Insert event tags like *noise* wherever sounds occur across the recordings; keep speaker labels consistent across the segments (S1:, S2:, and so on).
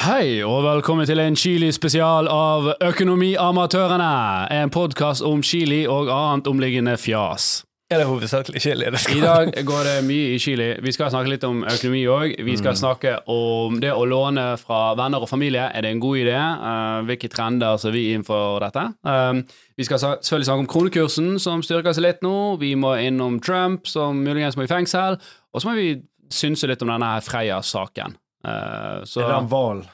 S1: Hei, og velkommen til en Chili-spesial av Økonomiamatørene. En podkast om Chili og annet omliggende fjas.
S2: Er det hovedsakelig chili det
S1: I
S2: skal
S1: dag går det mye i Chili. Vi skal snakke litt om økonomi òg. Vi
S3: Mm.
S1: skal snakke om det å låne fra venner og familie. Er det en god idé? Eh, hvilke trender ser vi inn for dette? Eh, vi skal sa- selvfølgelig snakke om kronekursen, som styrker seg litt nå. Vi må innom Trump, som muligens må i fengsel. Og så må vi synse litt om denne her Freia-saken. Eh,
S3: Er det
S1: så
S3: en hval?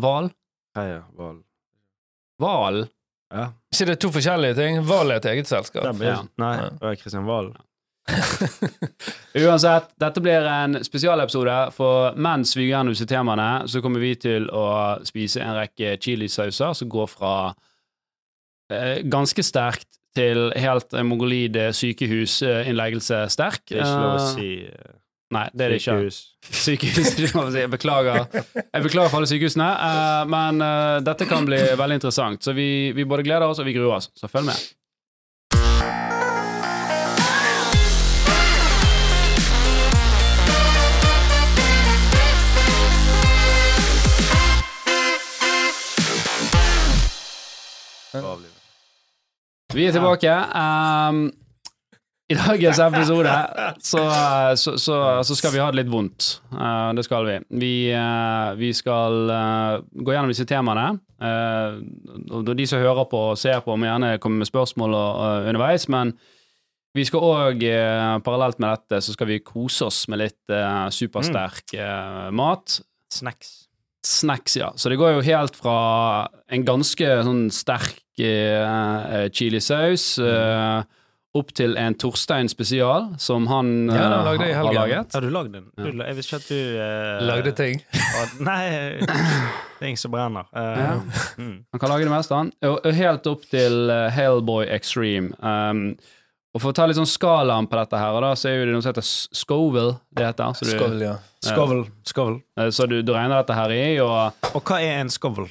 S1: Hval?
S3: Heia, hval.
S1: Hvalen?
S3: Ja.
S2: Ikke det er to forskjellige ting? Val er et eget selskap.
S3: Den blir,
S1: Ja.
S3: Nei,
S2: Ja.
S3: det er Kristian Hval.
S1: Uansett, dette blir en spesialepisode, for mens vi går gjennom disse temaene, så kommer vi til å spise en rekke chilisauser som går fra eh, ganske sterkt til helt eh, mongolid eh, sykehusinnleggelse sterk.
S3: Det er ikke lov å
S1: Eh,
S3: si
S1: Nei, det er det ikke.
S3: sykehus.
S1: *laughs* Sykehus, det må jeg si. jeg beklager. Jeg beklager for alle sykehusene, eh, men eh, dette kan bli veldig interessant. Så vi, vi både gleder oss og vi gruer oss, så følg med.
S3: Avlivet.
S1: Vi er tilbake. ehm, I dagens episode så, så, så, så skal vi ha det litt vondt. Eh, det skal vi. Vi, eh, vi skal eh, gå gjennom disse temaene. Eh, og de som hører på og ser på, må gjerne komme med spørsmål og, og underveis, men vi skal òg, parallelt med dette, så skal vi kose oss med litt eh, supersterk eh, mat.
S3: Snacks.
S1: Snacks, ja. Så det går jo helt fra en ganske sånn sterk eh, eh, chilisaus
S2: Mm.
S1: eh, opp til en Torstein spesial, som han
S2: Ja, den
S1: eh,
S2: lagde jeg i
S1: har
S2: helgen.
S1: laget.
S3: Har du lagd den? Du, jeg visste ikke at du eh,
S2: Lagde
S3: *laughs*
S2: ting.
S3: had- Nei, det er ingen som brenner. Eh,
S1: Ja.
S3: mm.
S1: Han kan lage det meste, han. Og, og helt opp til eh, Hellboy Extreme. Um, og For å ta litt sånn skalaen på dette, her, og da, så er jo det noe som heter S- Scoville. det heter. Så du,
S2: Skål, ja.
S3: Skovel. Skovel.
S1: eh, så du, du regner dette her i, og
S3: Og hva er en skovel?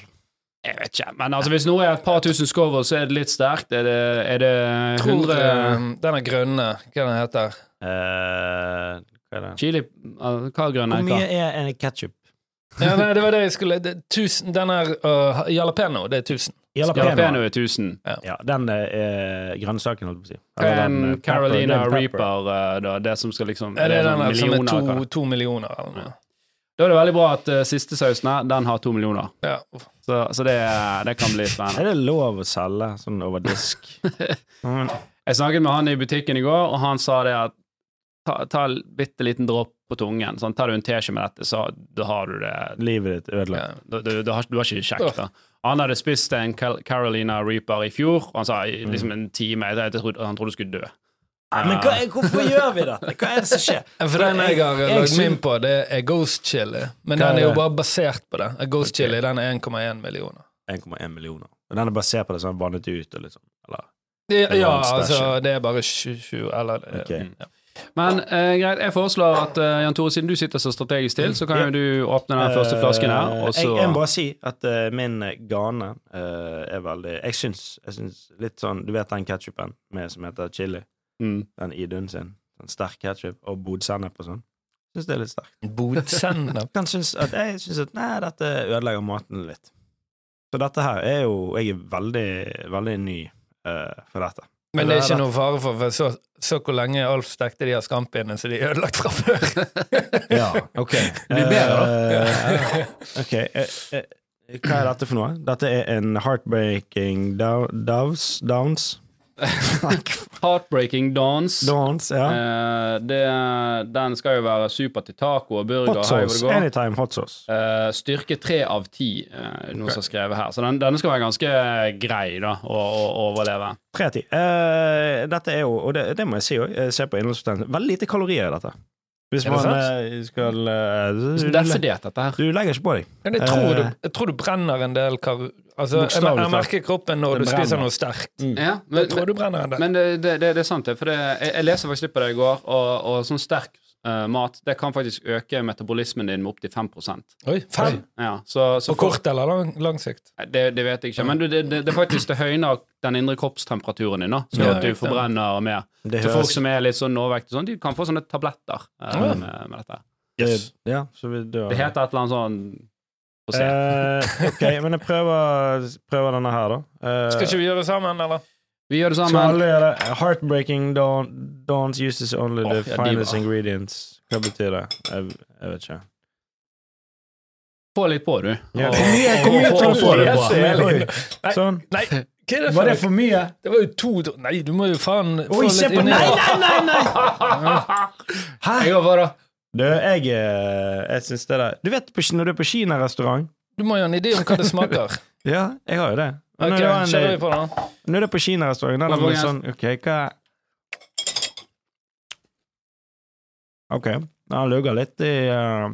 S1: jeg vet ikke, men altså hvis noe er et par tusen Scoville, så er det litt sterkt. Er det, er det
S2: Tror
S1: 100
S2: eh, den er grønne, hva den heter
S3: Eh, hva er det?
S1: chili... eh, Hva grønn
S3: Hvor
S1: er hva?
S3: mye er en ketsjup?
S2: ja, nei, det var det jeg skulle det, er 1000, Den er uh, jalapeño, det er 1000.
S1: Jalapeno er 1000.
S3: Ja, den eh, er grønnsaken, holdt jeg på å si.
S1: Hva er
S3: Eller den,
S1: en
S3: eh, pepper, det
S1: Carolina
S3: er en pepper.
S1: Reaper, eh, da? Det som skal liksom
S2: Er det
S1: er det
S2: den
S1: sånn
S2: her som er
S1: millioner,
S2: to,
S1: hva?
S2: to millioner? Eller noe?
S1: Da er det veldig bra at eh, siste sausen her, den har to millioner.
S2: Ja.
S1: Så, så det, eh, det kan bli
S3: Er *laughs*
S1: spennende.
S3: det lov å selge sånn over
S1: *laughs*
S3: disk? Mm.
S1: Jeg snakket med han i butikken i går, og han sa det at ta, ta en bitte liten dråpe på tungen. Sånn, tar du en teskje med dette, så da har du det
S3: Livet ditt er ødelagt.
S2: Ja.
S1: Du, du, du, har, du har ikke det kjekt, da. Han hadde spist en Cal- Carolina Reaper i fjor, og han sa i liksom en time jeg trodde, Han trodde du skulle dø.
S3: Nei, Men hva, hvorfor gjør vi dette? Hva er det som
S1: *laughs*
S3: skjer?
S2: For den jeg har
S3: Jeg
S2: lagd
S3: syn-
S2: min på, det er ghost chili. Men
S3: Hva er
S2: den er jo
S3: det?
S2: bare basert på det. Ghost chili den er 1,1 millioner.
S3: 1,1 millioner. Og den er basert på det som er vannet ut og litt sånn. Eller?
S2: Det,
S3: er
S2: ja,
S3: en stasje.
S2: altså, det er bare 20 eller
S3: Ok.
S1: Mm.
S2: ja.
S1: Men eh, greit, jeg foreslår at eh, Jan Tore, siden du sitter så strategisk til, så kan
S3: Ja.
S1: jo du åpne den første
S3: Eh,
S1: flasken her, og så
S3: jeg, jeg må bare si at eh, min gane eh, er veldig Jeg syns, jeg syns litt sånn Du vet den ketsjupen som heter chili?
S1: Mm.
S3: Den Idun sin? Den sterk ketsjup og bodsennep og sånn? Syns det er litt sterkt.
S2: Bodsennep.
S3: Kan synes at, jeg syns at nei, dette ødelegger maten litt. Så dette her er jo Jeg er veldig, veldig ny eh, for dette.
S2: Men det er ikke noe fare for, for så, så hvor lenge Alf stekte de her skampinnene som de er ødelagt fra *laughs* før.
S3: Ja, ok.
S1: blir bedre,
S3: Eh, ok, eh, eh, hva er dette for noe? Dette er en heartbreaking dow- dows, downs.
S1: Heartbreaking Dance.
S3: Downs, ja.
S1: Eh, det, den skal jo være super til taco og burger.
S3: Hot
S1: hei hvor
S3: sauce.
S1: det går.
S3: Anytime hot sauce.
S1: Eh, styrke tre av ti, eh, noen som har skrevet her. Så den, denne skal være ganske eh, grei da, å, å overleve.
S3: Tre av ti. Eh, dette er jo, og det, det må jeg si òg, eh, se på innholdspotensialet, veldig lite kalorier i dette. Hvis
S2: Er det
S3: man
S2: sant?
S3: eh, skal eh, du,
S1: Det er fordelt, dette her.
S3: du legger ikke på deg.
S2: Men jeg tror, du,
S3: Eh.
S2: jeg tror du brenner en del kar... Altså, jeg,
S3: Bokstavelig
S2: jeg
S3: talt.
S2: merker kroppen når
S3: Det
S2: du spiser
S3: brenner. Mm.
S2: noe sterkt.
S1: Ja,
S2: Jeg
S1: men,
S2: tror du brenner en del.
S1: Men det, det, det, det er sant, det. For det, jeg, jeg leser faktisk litt på det i går, og, og sånn sterk eh, mat det kan faktisk øke metabolismen din med opptil 5
S2: Oi, fem!
S1: ja, så, så
S2: På kort eller lang, lang sikt.
S1: det, det vet jeg ikke, men du, det, det, det er faktisk det høyner den indre kroppstemperaturen din, da, så
S2: Ja,
S1: at du
S2: riktig.
S1: forbrenner mer.
S3: Det
S1: Så folk
S3: høres
S1: som er litt sånn overvektige, sånn, de kan få sånne tabletter eh,
S2: Ja.
S1: med, med dette.
S3: det, Ja, så vi dør.
S1: Det heter et eller annet sånn Få se.
S3: Eh, ok, men jeg prøver, prøver denne her, da. Eh,
S4: Skal ikke vi gjøre det sammen, eller?
S1: Vi gjør det
S3: skal
S1: sammen.
S3: alle gjøre det? Heartbreaking dawn, dawns uses only
S1: Åh,
S3: the
S1: ja, de
S3: finest
S1: var-
S3: ingredients. Hva betyr det? Jeg, jeg vet ikke.
S1: Få litt på, du.
S3: Ja.
S1: Og-
S3: Hvor mye-
S4: hvor mye
S1: og- og-
S4: tar
S1: og få
S4: du for
S1: det
S4: det?
S1: på.
S4: Yes,
S3: Oi,
S4: Nei.
S3: Sånn. *laughs*
S4: Nei, hva er det for noe?
S3: for mye?
S4: Det var jo to Nei, du må jo faen få
S3: Oi, se
S4: litt
S3: på
S4: inni
S3: Nei,
S4: det.
S3: nei, nei! nei.
S1: Hæ? Jeg går for det.
S3: Du, jeg, eh, jeg syns det der Du vet på, når du er på kinarestaurant?
S4: Du må jo ha en idé om hva det
S3: *laughs*
S4: smaker.
S3: Ja, jeg har jo det.
S4: Ok,
S3: Men når det var en-
S4: kjører vi på den.
S3: Nå er det på kinarestauranten. Da er det sånn OK, hva OK. Han lugger litt i uh,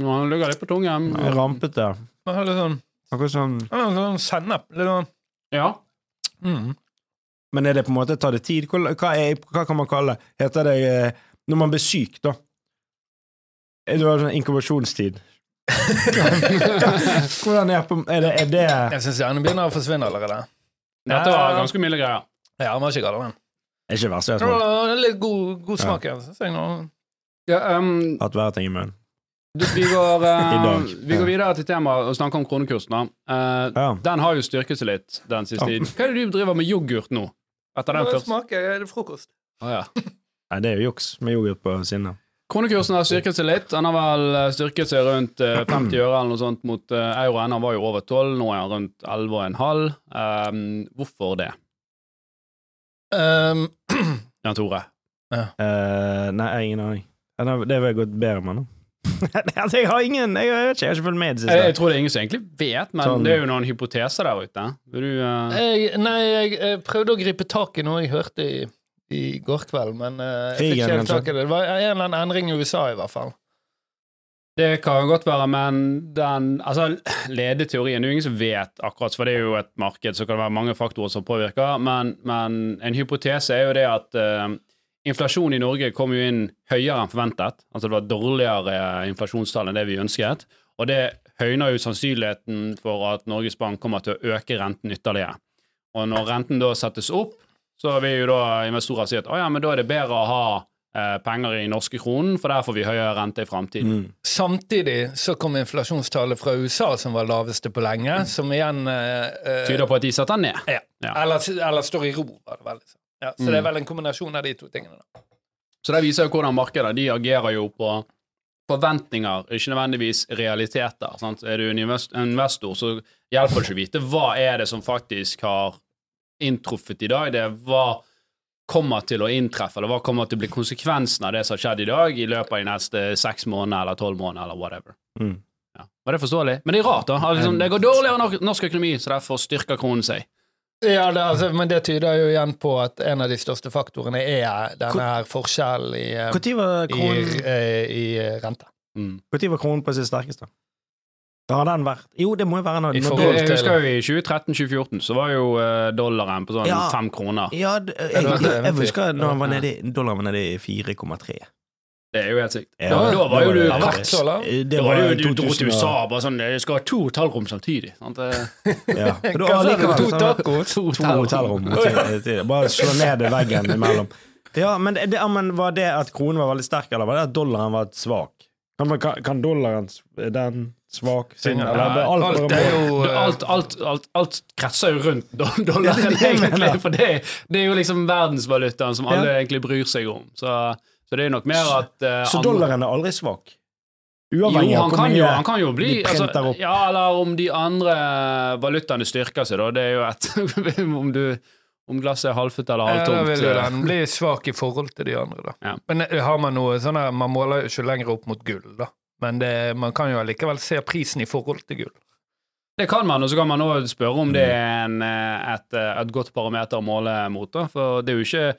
S1: Nå har han lugget litt på tungen.
S3: rampete.
S4: Den har litt sånn,
S3: Akkurat sånn
S4: den har sånn sennep. Litt sånn
S1: Ja.
S4: mm.
S3: Men er det på en måte tar det tid? Hva, hva, er, hva kan man kalle det? Heter det eh, når man blir syk, da? Eh, Det var sånn inkubasjonstid. Hvordan er, på, er det, er det
S4: Jeg syns hjernen begynner å forsvinne allerede.
S1: Dette var ganske milde greier.
S4: Ja, man må ikke kalle den.
S3: er ikke verst, jeg
S4: Ja,
S3: har
S4: det er litt god, god smak igjen, synes jeg nå.
S1: Ja, um,
S3: hatt hver ting i munnen.
S1: du, vi, *laughs* går, eh,
S3: I dag.
S1: vi går videre til temaet og snakker om kronekursen. da. Eh,
S3: Ja.
S1: den har jo styrket seg litt den siste
S3: Ja.
S1: tiden. Hva er det du driver med yoghurt nå? Etter den
S4: Hva
S1: første?
S4: smaker? Er det frokost?
S1: Å, ja.
S3: Nei, det er jo juks med yoghurt på sinnet.
S1: Kronekursen har styrket seg litt. Den har vel eh, styrket seg rundt eh, 50 øre eller noe sånt mot eh, euroen. Han var jo over 12, nå er han rundt 11,5. Um, hvorfor det,
S4: Um,
S1: Jan Tore?
S3: Eh, nei, jeg har ingen aning. Ja, Det det vil jeg gått bedre med nå. *laughs* altså, jeg har ingen Jeg, jeg vet ikke, jeg har ikke fulgt med i det
S1: Jeg, jeg
S3: siste.
S1: tror det er ingen som egentlig vet, men
S3: Sånn.
S1: det er jo noen hypoteser der ute. Vil du eh,
S4: jeg, nei, jeg, eh, prøvde å gripe tak i noe jeg hørte i, i går kveld, men eh, jeg fikk
S3: Krigen,
S4: ikke helt
S3: kanskje?
S4: tak i det. Det var en eller annen endring i USA, i hvert fall.
S1: Det kan jo godt være, men den altså, ledeteorien Det er jo ingen som vet akkurat, for det er jo et marked, så kan det være mange faktorer som påvirker. Men, men en hypotese er jo det at eh, inflasjon i Norge kom jo inn høyere enn forventet. Altså det var dårligere inflasjonstall enn det vi ønsket. Og det høyner jo sannsynligheten for at Norges Bank kommer til å øke renten ytterligere. Og når renten da settes opp, så vil jo da investorer si at å ja, men da er det bedre å ha eh, penger i norske kronen, for der får vi høyere rente i framtiden.
S3: Mm.
S4: Samtidig så kom inflasjonstallet fra USA, som var laveste på lenge, som igjen eh, eh,
S1: tyder på at de setter den ned.
S4: ja.
S1: Ja.
S4: Eller, eller står i ro, var det vel. Liksom. Ja, så det er vel en kombinasjon av de to tingene. Da.
S1: Så det viser jo hvordan markedet de agerer jo på forventninger, ikke nødvendigvis realiteter. Sant? Er du en invest- en investor, så hjelper det ikke å vite hva er det som faktisk har inntruffet i dag. Det er hva kommer til å inntreffe, eller hva kommer til å bli konsekvensen av det som har skjedd i dag, i løpet av de neste seks månedene eller tolv månedene eller whatever.
S3: Mm.
S1: Ja. Var det forståelig? Men det er rart, da. Altså, liksom, det går dårligere nok- norsk økonomi, så derfor styrker kronen seg.
S4: Ja, det, altså, men det tyder jo igjen på at en av de største faktorene er
S3: Hvor-
S4: denne her forskjellen i, eh,
S3: Når var
S4: i,
S3: kronen
S4: eh, i rente.
S1: Mm.
S3: Når var kronen på sitt sterkeste? Da har den vært Jo, det må jo være når
S4: I
S3: når
S4: forhold-
S1: Jeg,
S4: til-
S1: jeg husker jo i 2013-2014 så var jo eh, dollaren på sånn
S3: Ja.
S1: fem kroner.
S3: Ja, d-
S4: var
S3: jeg, jeg,
S4: et
S3: jeg
S4: eventyr.
S3: husker når han var
S1: Ja.
S3: nede i- dollaren var nede i 4,3.
S1: Det er jo helt sykt.
S3: Ja,
S1: da, da var jo du
S3: det-
S4: har vært så lav.
S1: da
S3: Eh, Det
S1: var
S3: var
S1: jo
S3: jo
S1: du dro til
S3: 2000 og-
S1: USA og bare sånn Jeg skal ha to hotellrom samtidig. Sant? Det-
S3: *laughs* Ja. For da
S4: Hva sa du?
S3: allikevel
S4: To
S3: så-
S4: tacos?
S1: To
S3: To hotellrom. til- til- Bare slå ned i veggen imellom. *laughs* Ja, men, det, ja, men var det at kronen var veldig sterk, eller var det at dollaren var svak? Kan, man- kan, kan dollaren er den svak siden
S4: Ja,
S3: eller, er det alt,
S4: alt
S3: bare
S4: er
S3: må-
S4: jo eh,
S1: Alt, alt, alt, alt kretser jo rundt do-
S3: Ja,
S1: dollaren,
S3: det er det jeg mener.
S1: egentlig. For det, det er jo liksom verdensvalutaen som alle egentlig bryr seg om. Så, så det er nok mer at eh,
S3: Så
S1: andre-
S3: dollaren er aldri svak?
S1: Jo,
S3: Uavhengig av
S1: han
S3: hvor
S1: kan jo, han
S3: mye
S1: kan jo bli
S3: de printer
S1: altså,
S3: opp.
S1: Ja, eller om de andre valutaene styrker seg, da. Det er jo et *laughs* Om, du, om glasset er halvfullt eller
S4: Ja, da
S1: halvtomt.
S4: vil jo
S1: eh,
S4: den bli svak i forhold til de andre, da.
S1: Ja.
S4: Men eh, har man noe sånn her Man måler jo ikke lenger opp mot gull, da. Men det, man kan jo allikevel se prisen i forhold til gull.
S1: Det kan man, og så kan man også spørre om det er en, eh, et, eh, et godt parameter å måle mot. Da. For det er jo ikke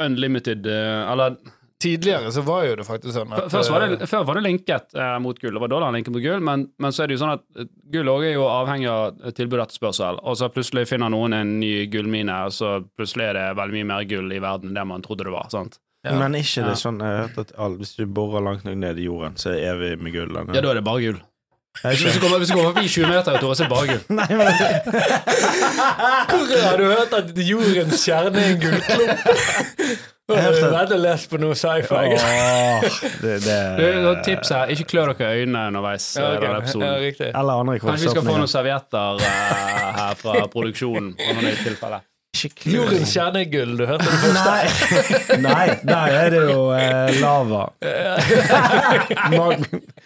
S1: unlimited eh, Eller
S4: Tidligere så var jo det faktisk sånn
S1: f-
S4: at
S1: først var
S4: eh,
S1: det, før var det linket eh, mot gull, det var dollaren linket mot gull, men, men så er det jo sånn at eh, gull også er jo avhengig av tilbud og etterspørsel, og så plutselig finner noen en ny gullmine, og så plutselig er det veldig mye mer gull i verden enn det man trodde det var. sant?
S4: Ja.
S3: Men er ikke
S1: Ja.
S3: det sånn jeg har hørt at all, hvis du borer langt nok ned i jorden, så er vi med gull? eller?
S1: Ja, da er det bare gull.
S3: Jeg er ikke-
S1: Hvis du kommer, hvis du kommer forbi 20 meter, Tore, så er det bare gull.
S3: Nei, men
S4: eh,
S1: *laughs*
S4: Hvor har du hørt at jordens kjerne er en gullklump?
S3: Heftig.
S4: Jeg hadde lest på noe sci-fi.
S3: Åh, *laughs* det,
S1: Du,
S3: det.
S1: tips her, ikke klør dere i øynene underveis.
S4: *laughs* Ja,
S1: eh,
S4: ok.
S1: denne episoden.
S4: ja, riktig.
S3: Eller andre
S1: Kanskje vi skal få
S3: kroppsåpninger.
S1: noen servietter eh, her fra
S3: *laughs*
S1: produksjonen. om det er tilfelle.
S4: Jordens kjerne er gull, du hørte det først.
S3: Nei. *laughs* Nei, der er det jo eh,
S1: *laughs*
S3: lava. Mag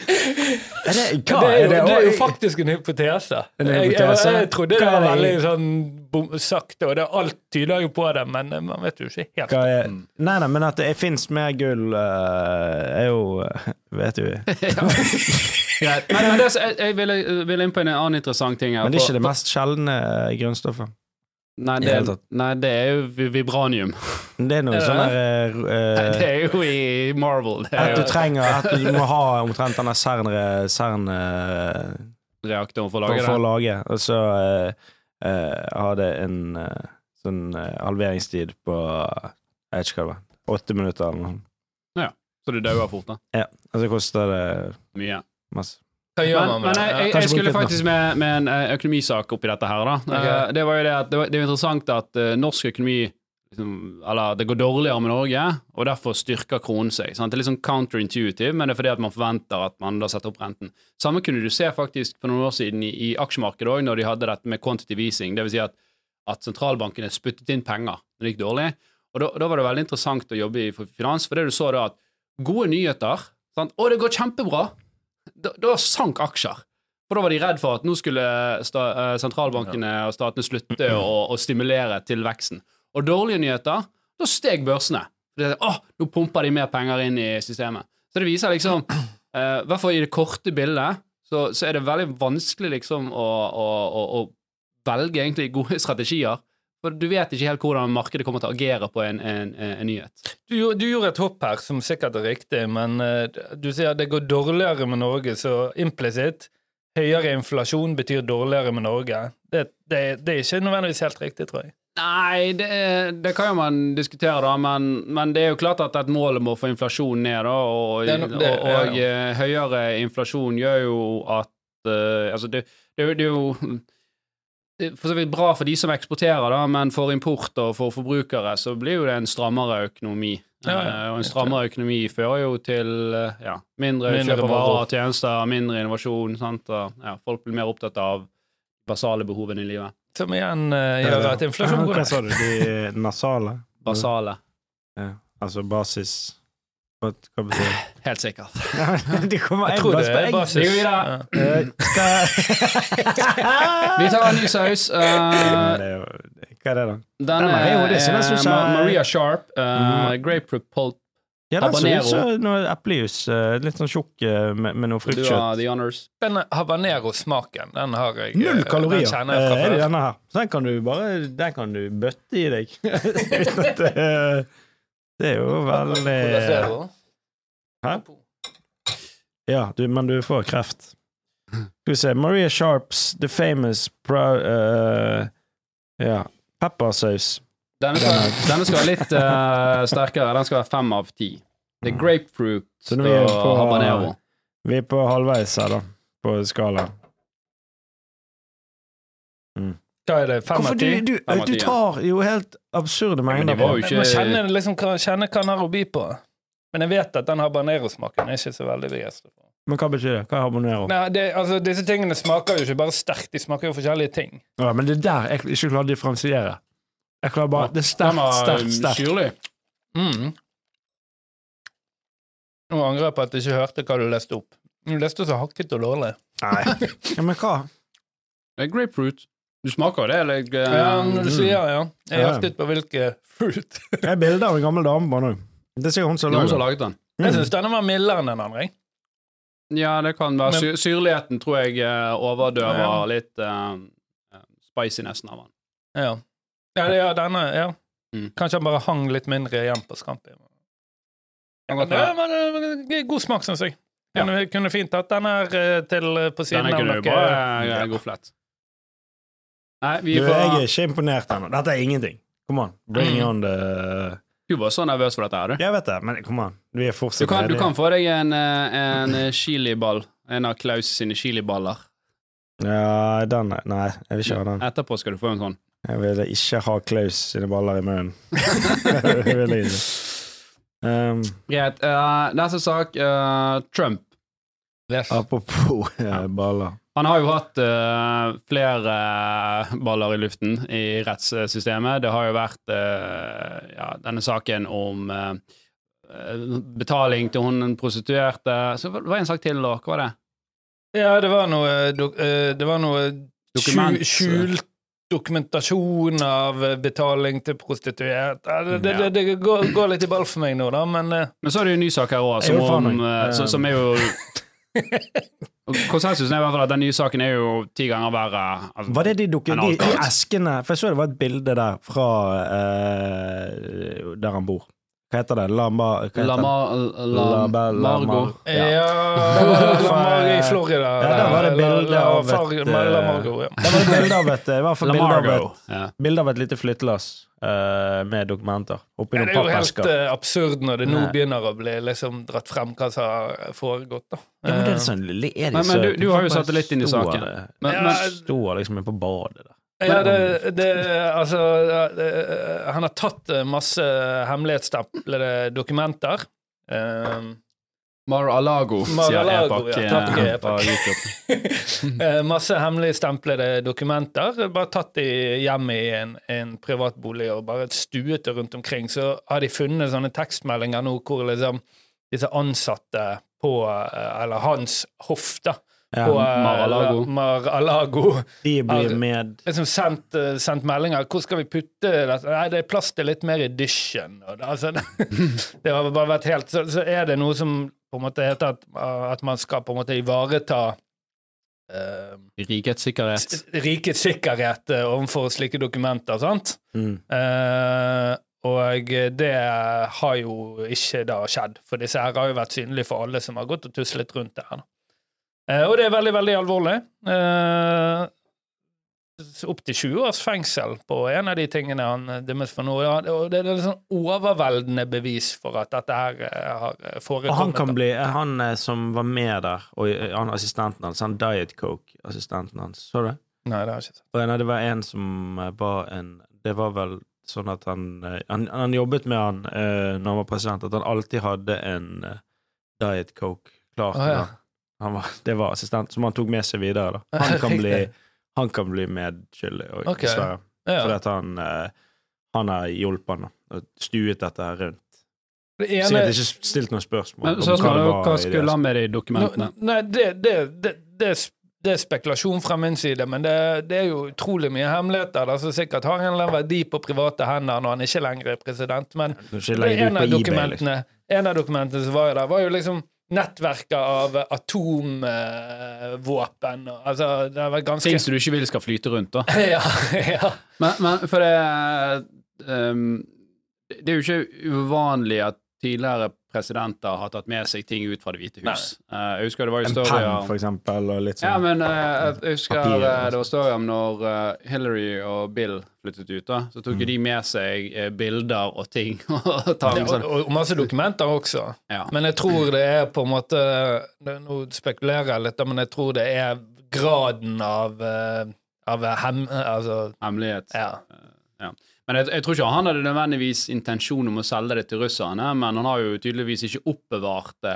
S3: er det, hva
S4: Det er, jo, det er jo
S3: også-
S4: faktisk en hypotese.
S3: En
S4: Jeg, jeg,
S3: hypotese?
S4: jeg trodde det
S3: Hva er
S4: var
S3: det?
S4: veldig sånn bom, sakte, og det alt tyder jo på det, men eh, man vet jo ikke helt.
S3: hva er, nei, nei, men at det fins mer gull, eh, er jo *laughs* eh, Vet du.
S1: *laughs* Greit. Men, men det, jeg, jeg ville, ville inn på en annen interessant ting her.
S3: Men det er ikke
S1: For-
S3: det mest sjeldne eh, grunnstoffet.
S1: Nei,
S3: I hele
S1: det,
S3: tatt.
S1: nei, det er jo vi- vibranium.
S3: Det er noe
S1: Er det
S3: sånn
S1: det?
S3: der eh,
S1: *laughs* Det er jo i Marvel. Det
S3: At
S1: er
S3: du
S1: jo
S3: trenger At du må ha omtrent denne CERN-reaktoren CERN, eh,
S1: reaktoren for å
S3: for,
S1: lage
S3: for å
S1: det.
S3: lage, og så eh, eh, har det en eh, sånn eh, halveringstid på Jeg vet ikke hva det var. Åtte minutter eller noe. sånt.
S1: Så du dauer fort, da.
S3: Og så koster det
S1: Mye.
S3: masse.
S4: Hva gjør
S1: Men,
S4: man
S1: men
S4: med
S1: jeg, jeg,
S4: det?
S3: kanskje
S1: jeg skulle
S3: bruke den, da.
S1: faktisk med, med en eh, økonomisak oppi dette her, da. Eh, Det var jo det at det, var, det er jo interessant at eh, norsk økonomi liksom, Eller det går dårligere med Norge, og derfor styrker kronen seg. Sant? Det er litt sånn counterintuitive, men det er fordi at man forventer at man da setter opp renten. Samme kunne du se faktisk for noen år siden i, i aksjemarkedet òg, når de hadde dette med quantitative easing. Det vil si at, at sentralbankene spyttet inn penger når det gikk dårlig. Og da, da var det veldig interessant å jobbe i finans, for det du så da at gode nyheter sant? Å, det går kjempebra! Da, da sank aksjer. For da var de redd for at nå skulle sta, eh, sentralbankene og statene slutte å, å stimulere til veksten. Og dårlige nyheter, da steg børsene. Det, er, «Åh, nå pumper de mer penger inn i systemet. Så det viser liksom I hvert fall i det korte bildet så, så er det veldig vanskelig liksom å, å, å, å velge egentlig gode *laughs* strategier. For du vet ikke helt hvordan markedet kommer til å agere på en, en, en nyhet.
S4: Du, gjorde- du gjorde et hopp her som sikkert er riktig, men eh, du sier det går dårligere med Norge, så implisitt høyere inflasjon betyr dårligere med Norge. Det, det, det er ikke nødvendigvis helt riktig, tror jeg.
S1: Nei, det, det kan jo man diskutere, da, men, men det er jo klart at et mål om å få inflasjonen ned, da, og,
S4: Det er no- det-
S1: og, og eh, høyere inflasjon gjør jo at eh, Altså, det, det, er jo- det er jo det er for så vidt bra for de som eksporterer, da, men for import og for forbrukere så blir jo det en strammere økonomi.
S4: Ja, ja.
S1: Eh, Og en strammere økonomi fører jo til eh, ja, mindre,
S4: Mindre
S1: kjøp av
S4: varer.
S1: varer og tjenester, mindre innovasjon. Sant? Og, ja, folk blir mer opptatt av basale behovene i livet.
S4: Som igjen eh, gjør at inflasjon går
S3: Hva
S4: ned.
S3: sa du? De nasale?
S1: Basale.
S3: Ja. Altså basis Hva hva betyr
S4: *laughs*
S3: det?
S1: Helt sikkert.
S3: De kommer
S4: Jeg tror det er
S1: Vi
S4: basis.
S1: går videre.
S4: Ja.
S3: Eh,
S4: *laughs*
S1: Vi tar en ny saus. Eh,
S3: Hva er det, da?
S1: den
S3: Den er jo-
S1: er,
S3: det synes jeg Mm.
S1: eh,
S3: så-
S1: Ma- Maria Sharp. eh, Grape Repult.
S3: Ja, den ser
S1: Habanero.
S3: ut som noe eplejus. eh, Litt sånn tjukk eh, med, med noe
S1: Du
S3: fruktkjøtt.
S1: har the honors.
S4: Den habanero-smaken, den har jeg eh,
S3: Null kalorier
S4: Den kjenner jeg
S3: eh,
S4: fra
S3: er det
S4: før.
S3: denne her. Så den kan du bare Den kan du bøtte i deg. *laughs* Uten at det, det er jo veldig
S4: Eh,
S3: Hæ? Ja, du, men du får kreft. Skal vi se Maria Sharps The Famous Pro... eh, ja. Peppersaus.
S1: Denne skal, denne skal være litt eh, sterkere. Den skal være fem av ti. Det er grapefruit
S3: Mm. Så
S1: og
S3: nå er vi på-
S1: habanero.
S3: Vi er på halvveis her, da, på skala.
S4: Hva er det, fem
S3: Hvorfor
S4: av
S3: du,
S4: ti?
S3: du,
S1: Fem av
S3: du
S1: ti, ja.
S3: tar jo helt absurde
S1: men de
S3: mengder.
S1: var jo
S4: Jeg
S1: ikke-
S4: må kjenne, liksom, hva- kjenne hva den har å by på. Men jeg vet at den habanero-smaken er ikke så veldig begeistret for.
S3: Men hva betyr det? Hva er habanero?
S4: Nei, det, altså, disse tingene smaker jo ikke bare sterkt, de smaker jo forskjellige ting.
S3: Ja, men det der jeg ikke klarer å differensiere. Jeg klarer bare Det er
S1: Den
S3: sterkt,
S1: var
S3: sterkt,
S1: um,
S3: sterkt.
S1: syrlig.
S4: Mm. Nå angrer jeg på at jeg ikke hørte hva du leste opp. Du leste så hakket og dårlig.
S3: Nei. Ja, men hva?
S1: Det er grapefruit. Du smaker jo det. Eller, eh,
S4: Ja, når du sier ja. Jeg
S3: Ja.
S4: jaktet på hvilke fruit.
S3: Det er bilde av en gammel dame bare nå. Det er sikkert hun som
S1: noen som har
S3: lager det.
S1: laget den.
S4: Jeg syns denne var mildere enn den andre. jeg.
S1: Ja, det kan være.
S4: Men-
S1: Syr syrligheten tror jeg eh, overdøver
S4: Ja.
S1: litt uh, spicinessen av den.
S4: Ja. Ja, det- ja, denne, ja.
S1: Mm.
S4: Kanskje han bare hang litt mindre igjen på Scampi.
S1: Kan
S4: Men
S1: godt
S4: det
S1: være.
S4: var det var god smak, syns jeg. Kunne, kunne fint tatt den her eh, til eh, på siden
S1: Denne
S4: av
S1: kunne du
S4: noe.
S1: bare ja. goflet. Nei, vi
S3: Mm. Du,
S1: får
S3: jeg er ikke imponert ennå. Dette er ingenting. Kom an. Bring
S4: Mm.
S3: on the
S1: Du var så nervøs for dette her, du.
S3: Jeg vet det, men kom an. Vi er
S1: Du
S3: fortsatt
S1: kan, du
S3: ledige.
S1: kan få deg en, eh, en eh, chiliball. En av Klaus sine chiliballer.
S3: Ja, den er- Nei, jeg vil ikke ha den.
S1: Etterpå
S3: *laughs*
S1: skal du få en sånn.
S3: Jeg vil ikke ha Klaus sine baller i munnen. Det vil jeg ikke. Um,
S1: Greit. eh, neste sak. eh, Trump.
S2: Yes.
S3: apropos *laughs* eh, baller.
S1: Han har jo hatt eh, flere eh, baller i luften i rettssystemet. Det har jo vært eh, ja, denne saken om eh, eh, betaling til hun prostituerte Så var det var en sak til, da. Hva var det?
S4: Ja, det var noe, dok- eh, det var noe
S1: Dokument.
S4: skju- skjult dokumentasjon av eh, betaling til prostituert. Ja, Det, det, det, det går, går litt i ball for meg nå, da, men eh,
S1: Men så er det jo en ny sak her òg,
S3: Jeg er jo faen
S1: som, om,
S3: meg.
S1: eh, så- som er jo
S3: *laughs*
S1: Konsensusen er i hvert fall at den nye saken er jo ti ganger verre. Altså,
S3: Var det de dukke...
S1: enn
S3: De,
S1: alt
S3: de
S1: annet.
S3: eskene For jeg så det var et bilde der fra eh, der han bor. Hva heter det? Lama... Hva heter
S1: Lama,
S3: det?
S1: la,
S3: Lama-
S1: Margo.
S3: Lama-
S4: ja,
S3: Ja. *laughs*
S4: Lamar i Florida.
S3: Ja, der var det bilde
S4: La- La-
S3: av et,
S4: Far-
S3: eh,
S4: Lamargo, ja.
S3: Det var et bilde av et, i hvert fall bilde av
S1: Lamargo.
S3: et,
S1: Ja.
S3: bilde av et lite flyttelass eh, med dokumenter oppi
S4: Ja,
S3: noen
S4: Det er jo helt
S3: pappesker.
S4: eh, absurd når det nå
S3: Nei.
S4: begynner å bli liksom dratt frem hva som har foregått. da.
S3: Ja, men det er
S4: Eh,
S3: sånn, er det
S1: Men-
S3: så-
S1: men du- du har jo
S3: hvorfor
S1: satt det litt inn i
S3: står
S1: saken.
S3: det-
S1: Men,
S4: Ja,
S1: men,
S3: Står liksom inne på badet der.
S4: Ja, det, det Altså, eh, han har tatt eh, masse hemmelighetsstaplede dokumenter. Eh,
S1: Mar-a-Lago, sier
S4: Mar-a-Lago,
S1: Epak.
S4: ja.
S1: eh,
S4: Takk, Epak.
S1: på YouTube.
S4: *laughs* eh, masse hemmelighetstemplede dokumenter. Bare tatt de hjem i en, en privatbolig og bare stuet det rundt omkring. Så har de funnet sånne tekstmeldinger nå hvor liksom disse ansatte på eh, Eller hans hoff, da. På
S3: Ja,
S4: eh,
S1: Mar-a-Lago.
S4: Mar-a-Lago.
S3: de blir
S4: Ar-
S3: med
S4: liksom sendt, eh, sendt meldinger. Hvor skal vi putte dette? Nei, det er plass til litt mer i dysjen. Og det, altså, *laughs* det har bare vært helt så, så er det noe som på en måte heter at, at man skal på en måte ivareta eh,
S1: Rikets sikkerhet.
S4: s- rikets sikkerhet eh, overfor slike dokumenter, sant?
S3: mm.
S4: Eh, og det har jo ikke da skjedd, for disse her har jo vært synlige for alle som har gått og tuslet rundt det her. Eh, og det er veldig, veldig alvorlig. Eh, Opptil 20 års fengsel på en av de tingene han eh, dømmes for nå. Ja, og det er litt sånn overveldende bevis for at dette her eh, har forekommet.
S3: Og han kan bli eh, Han eh, som var med der, og eh, han assistenten hans, han Diet Coke-assistenten hans, så du det?
S4: Nei, det har jeg ikke sett.
S3: Og nei, det var en som eh, var en Det var vel sånn at han eh, Han, han jobbet med han eh, når han var president, at han alltid hadde en eh, Diet Coke klar til
S4: Å, ja.
S3: han. han. Var, det var assistent som han tok med seg
S4: *laughs*
S3: videre. da. Han kan bli, han kan bli medskyldig, og-
S4: Ok.
S3: dessverre. Fordi
S4: Ja.
S3: at han, eh, han har hjulpet han da, og stuet dette her rundt.
S4: Det
S3: Sikkert ikke stilt noen spørsmål.
S1: Men
S3: om
S1: så
S3: hva det
S1: spørsmålet er jo
S3: var
S1: hva
S3: i det.
S1: skulle han med de
S4: Nå-
S1: dokumentene?
S4: Nei, det, det, det, det, er s- det er spekulasjon fra min side, men det, det er jo utrolig mye hemmeligheter. Da, så sikkert har han en verdi på private hender når han ikke lenger er president, men
S3: Nå skal jeg
S4: det
S3: legge
S4: er
S3: det ut
S4: en,
S3: på
S4: av
S3: eBay, liksom.
S4: dokumentene, en av dokumentene som var jo der, var jo liksom nettverket av atomvåpen. og- Altså, det har vært ganske
S1: Ting som du ikke vil skal flyte rundt, da.
S4: *laughs* ja, ja.
S1: Men, men for det ehm, Det er jo ikke uvanlig at tidligere presidenter har tatt med seg ting ut fra Det hvite hus. Eh, jeg husker det var jo
S3: En
S1: story
S3: penn,
S1: om
S3: for eksempel, og litt sånn.
S1: ja, men eh, jeg husker
S3: Papir,
S1: eh,
S3: altså.
S1: det var story om når eh, Hillary og Bill flyttet ut, da. Så tok
S3: Mm.
S1: jo de med seg eh, bilder og ting *laughs* og tang.
S4: Og,
S1: Sånn.
S4: og masse dokumenter også.
S1: Ja.
S4: Men jeg tror det er på en måte Nå spekulerer jeg litt, da, men jeg tror det er graden av, eh, av hem, altså,
S1: Hemmelighet.
S4: ja.
S1: Ja. Men jeg, jeg tror ikke han hadde nødvendigvis intensjon om å selge det til russerne, men han har jo tydeligvis ikke oppbevart det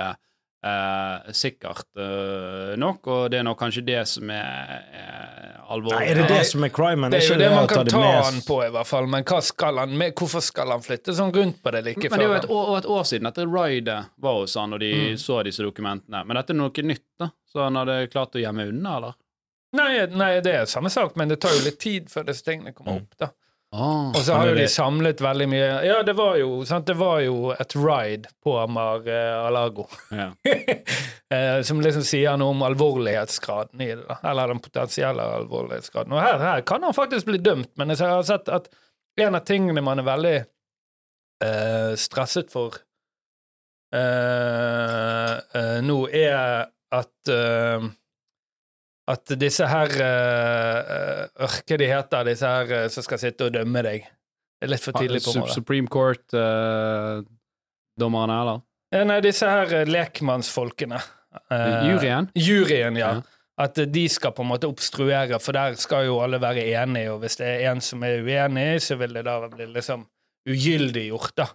S1: eh, sikkert eh, nok, og det er nok kanskje det som er eh, alvorlig.
S3: Nei, er det det som er crimen?
S4: Det er jo
S3: Ikke
S4: det
S3: å
S4: man kan
S3: det
S4: ta
S3: med-
S4: han på, i hvert fall, men hva skal han med? hvorfor skal han flytte sånn rundt på det like
S1: Men det er
S4: før?
S1: jo et år, et år siden dette ridet var hos han, og de
S4: Mm.
S1: så disse dokumentene. Men dette er noe nytt, da. Så han hadde klart å gjemme unna, eller?
S4: Nei, nei, det er samme sak, men det tar jo litt tid før disse tingene kommer opp, da.
S1: Ah.
S4: Og så har
S3: Men
S4: jo de
S3: det-
S4: samlet veldig mye Ja, det var jo, sant? Det var jo et ride på Mar eh, Alago.
S1: Ja.
S4: *laughs* Eh, som liksom sier noe om alvorlighetsgraden i det, da. eller den potensielle alvorlighetsgraden. Og her, her kan han faktisk bli dømt, men jeg har sett at en av tingene man er veldig eh, stresset for eh, eh, nå, er at eh, at disse her eh, eh, Ørke de heter, disse her eh, som skal sitte og dømme deg. Det er litt
S1: Ah,
S4: for tidlig på
S1: Sup-
S4: morgenen.
S1: Supreme Court-dommerne, eller?
S4: Eh, Nei, disse her eh, lekmannsfolkene. eh,
S1: Juryen?
S4: Juryen, ja.
S1: Ja.
S4: At eh, de skal på en måte obstruere, for der skal jo alle være enige, og hvis det er en som er uenig, så vil det da bli liksom ugyldiggjort, da.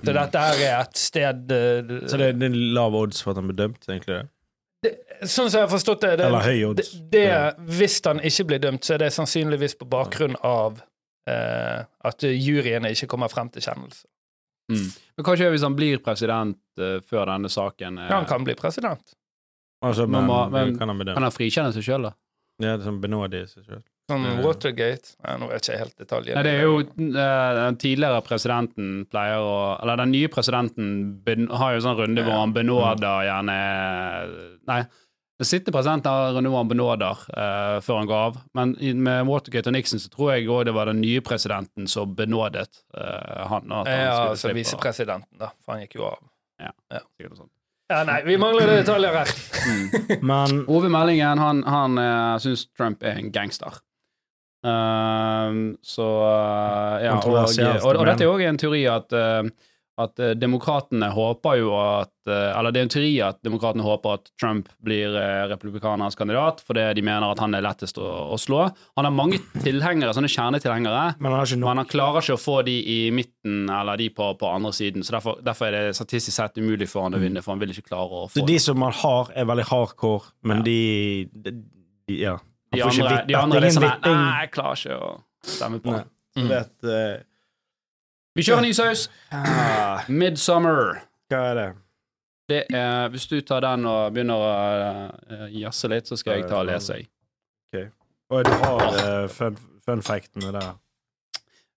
S4: Så dette her er et sted eh,
S3: Så det, det er lav odds for at han blir dømt, egentlig? det?
S4: Sånn som jeg har forstått det, det,
S3: Eller høy
S4: det,
S3: odds?
S4: det Hvis han ikke blir dømt, så er det sannsynligvis på bakgrunn av eh, at juryene ikke kommer frem til kjennelse.
S1: Mm. Men hva skjer hvis han blir president eh, før denne saken? eh,
S4: Han kan bli president.
S3: Altså,
S1: Men
S3: men,
S1: hva- men-
S3: kan han bli dømt?
S1: kan han frikjenne seg sjøl, da?
S3: Ja, det er sånn benådig i seg selv.
S1: *laughs*
S4: Sånn
S3: Ja.
S4: Watergate Nei, Nå er ikke jeg helt detaljene.
S1: Nei, det er jo eh, Den tidligere presidenten pleier å Eller den nye presidenten ben, har jo sånn runde hvor han benåder gjerne Nei, den sittende presidenten har en runde hvor han benåder eh, før han går av. Men i- med Watergate og Nixon så tror jeg òg det var den nye presidenten som benådet eh, han. og at han
S4: Ja,
S1: skulle
S4: altså
S1: slippe,
S4: visepresidenten, da. For han gikk jo av.
S1: sikkert
S4: sånn.
S1: noe sånt.
S4: Ja, nei, vi mangler detaljer her.
S3: Men
S1: Ove Meldingen, han, han eh, syns Trump er en gangster. Ehm, så eh, ja, og,
S3: Kontroversielt,
S1: og, og
S3: men-
S1: dette er òg en teori at eh, at eh, demokratene håper jo at eh, Eller det er en teori at demokratene håper at Trump blir eh, republikanernes kandidat fordi de mener at han er lettest å, å slå. Han har mange tilhengere, sånne kjernetilhengere.
S5: Men han har ikke nok.
S1: Men han klarer ikke å få de i midten eller de på, på andre siden, så derfor, derfor er det statistisk sett umulig for han å vinne, for han vil ikke klare å få
S3: Mm. så de som han har, er veldig hardcore, men de, de, de Ja. Han
S1: De
S3: får ikke
S1: andre,
S3: vitt-
S1: de andre
S3: det
S1: er
S3: er
S1: sånn mm. her,
S3: ingen vitting.
S1: Nei, jeg klarer ikke å stemme på
S3: Nei.
S1: han.
S3: Så det, eh,
S1: Vi kjører ny saus.
S3: ah,
S1: Midsummer.
S3: Hva er det?
S1: Det er, hvis du tar den og begynner å eh, jazze litt, så skal jeg ta og lese. jeg.
S3: Oi, du har eh, fun, fun factene der.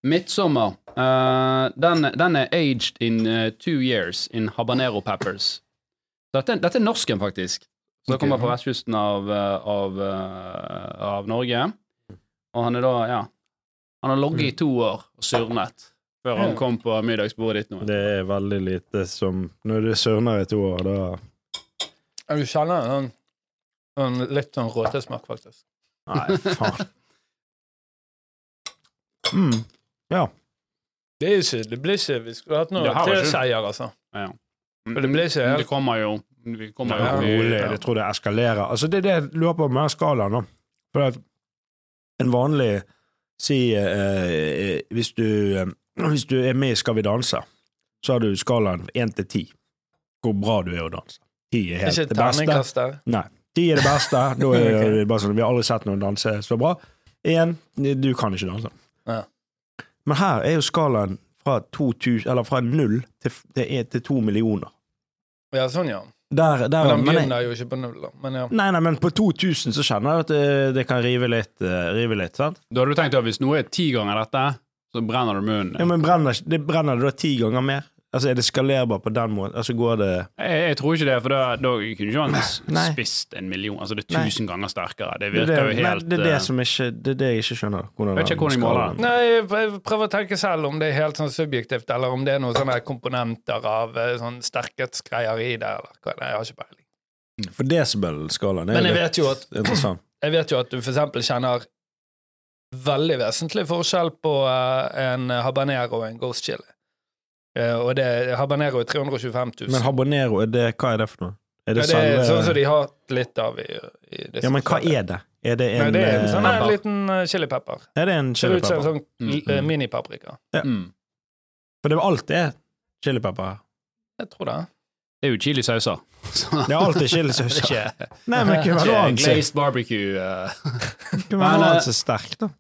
S1: Midsummer. eh, den, den er aged in eh, two years in habanero peppers. Dette, er- dette er norsken, faktisk. Så det kommer fra vestkysten av, eh, av, eh, av Norge. Og han er da, ja Han har ligget i to år og surnet før han kom på middagsbordet ditt nå.
S3: Det er veldig lite som Når du surner i to år, da
S4: *laughs* Ja, Du kjenner en, en litt sånn råtesmak, faktisk.
S3: Nei, *laughs* faen. Mm.
S4: Det, er ikke, det blir ikke Vi skulle hatt
S1: Det
S4: noen
S1: har vi ikke.
S4: teseier, altså.
S1: Ja.
S4: For det blir ikke
S1: Men Det
S4: helt
S1: kommer jo. Vi kommer jo.
S4: Ja,
S3: Rolig. Jeg tror det eskalerer. Altså, det er det jeg lurer på med den skalaen. da. For at en vanlig Si eh, hvis, du, eh, hvis du er med i Skal vi danse, så har du skalaen 1 til 10. Hvor bra du er å danse. 10 er helt
S4: Ikke
S3: det beste.
S4: terningkast der.
S3: 10 er det
S4: *laughs*
S3: beste. Da er det bare sånn, vi har aldri sett noen danse så bra. 1. Du kan ikke danse.
S4: Ja.
S3: Men her er jo skalaen fra, 2000, eller fra 0 til, til, til 2 millioner.
S4: Ja, sånn, ja.
S3: Der, der,
S4: Men han
S3: men jeg-
S4: begynner jo ikke på null, da. Men ja.
S3: Nei, nei, men på 2000 så kjenner jeg at det, det kan rive litt, eh, rive litt, sant?
S1: Da hadde du tenkt at hvis noe er ti ganger dette, så brenner du munnen.
S3: Ja, men brenner, ikke- det brenner det da ti ganger mer? Altså, er det skalerbar på den måten? Altså, går det
S1: jeg, jeg tror ikke det, for da, da kunne ikke han s-
S3: Nei.
S1: spist en million. Altså, det er
S3: Nei.
S1: tusen ganger sterkere. Det
S3: det,
S1: virker
S3: er
S1: jo
S3: det-
S1: helt
S3: nei, det er det
S1: eh,
S3: som ikke Det er det jeg ikke skjønner. Hvordan
S1: Vet ikke
S3: den
S1: hvordan de måler
S3: skalaen-
S1: den.
S4: Nei, jeg jeg prøver å tenke selv om det er helt sånn subjektivt, eller om det er noen sånne komponenter av eh, sånn sterkhetsgreier i det, eller hva. Nei, jeg har ikke peiling.
S3: For desibel-skalaen er
S4: Men jeg
S3: jo litt
S4: vet jo at
S3: interessant.
S4: Jeg vet jo at du for eksempel kjenner veldig vesentlig forskjell på eh, en habanero og en ghost chili. Eh, og det, habanero er 325 000.
S3: Men habanero, er det, hva er det for noe? Er
S4: ja,
S3: det,
S4: det er sånn som
S3: selve
S4: de har litt av i, i disse
S3: Ja, men hva er det? Er det en,
S4: Nei, det er en
S3: eh,
S4: sånn her liten eh, chilipepper.
S3: er det en
S4: Ser ut som en
S3: chilipepper?
S4: sånn
S1: Mm.
S4: eh, minipaprika.
S1: mm.
S3: For det er alt det er chilipepper her.
S4: Jeg tror det.
S1: Det er jo chilisauser. *laughs* Så
S3: Det er alltid
S1: det
S3: chilisauser.
S1: er ikke,
S3: Nei, men *laughs* hva er det
S1: ikke
S3: annet som-
S1: glazed barbecue. eh.
S3: hva er det
S1: Men, eh,
S3: annet som er sterkt, da?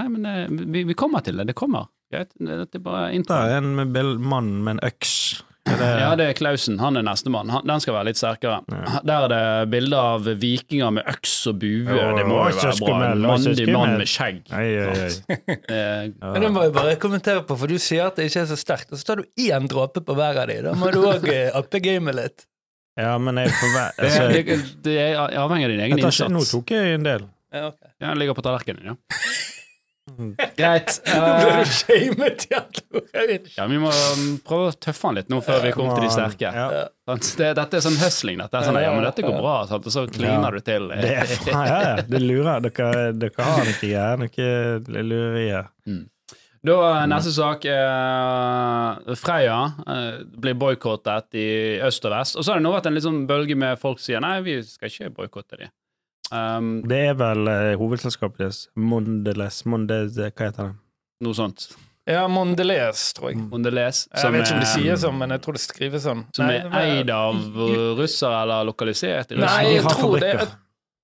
S1: Nei, men eh, vi, vi kommer til det. Det kommer. Greit. Det det er bare intro.
S3: Der er en med bil, mann med en øks. Er det,
S1: Ja, det er Klausen. Han er nestemann. Han- Den skal være litt sterkere.
S3: Ja.
S1: Der er det bilder av vikinger med øks og bue.
S3: Åh,
S1: Det må jo være
S3: så
S1: bra. En
S3: skummel, så
S1: mandig mann
S3: skummel.
S1: med skjegg.
S3: Oi, oi, oi.
S1: Eh,
S4: Men det må jeg bare kommentere på, for du sier at det ikke er så sterkt, og så tar du én dråpe på hver av de. Da må du òg uppe gamet litt.
S3: Ja, men jeg får være
S1: Det,
S3: altså, jeg,
S1: det, det er avhengig av din egen
S3: tar ikke, Nå
S1: innsats.
S3: tok jeg en del.
S4: Ja, ok.
S1: Ja, den ligger på tallerkenen,
S4: *laughs*
S1: ja. Greit. eh,
S4: Ble du shamet, Jan Tore?
S1: ja, vi må um, prøve å tøffe den litt nå før vi kommer til de sterke.
S3: Ja.
S1: Sant? Det, dette er sånn hustling. Dette er sånn, ja, men dette går bra, sant? og så
S3: Ja.
S1: kliner du til. eh.
S3: Det er faen, ja, ja. Det lurer. Dere, dere har noe greier, noe lurerier.
S1: *laughs* Da eh, neste sak. eh, Freia eh, blir boikottet i øst og vest. Og så har det nå vært en litt sånn bølge med folk som sier nei, vi skal ikke boikotte de. Um,
S3: Det er vel eh, hovedselskapet deres, Mondeles Mondes, Hva heter det?
S1: noe sånt.
S4: Ja, Mondelez, tror jeg.
S1: Mondelez.
S4: Jeg vet ikke om de
S1: er-
S4: sier sånn, men jeg tror det skrives sånn.
S1: Som
S4: Nei,
S1: er
S4: hva-
S1: eid av russere eller lokalisert i
S4: Nei,
S1: Russland.
S4: jeg
S3: har
S4: tror det
S3: fabrikker.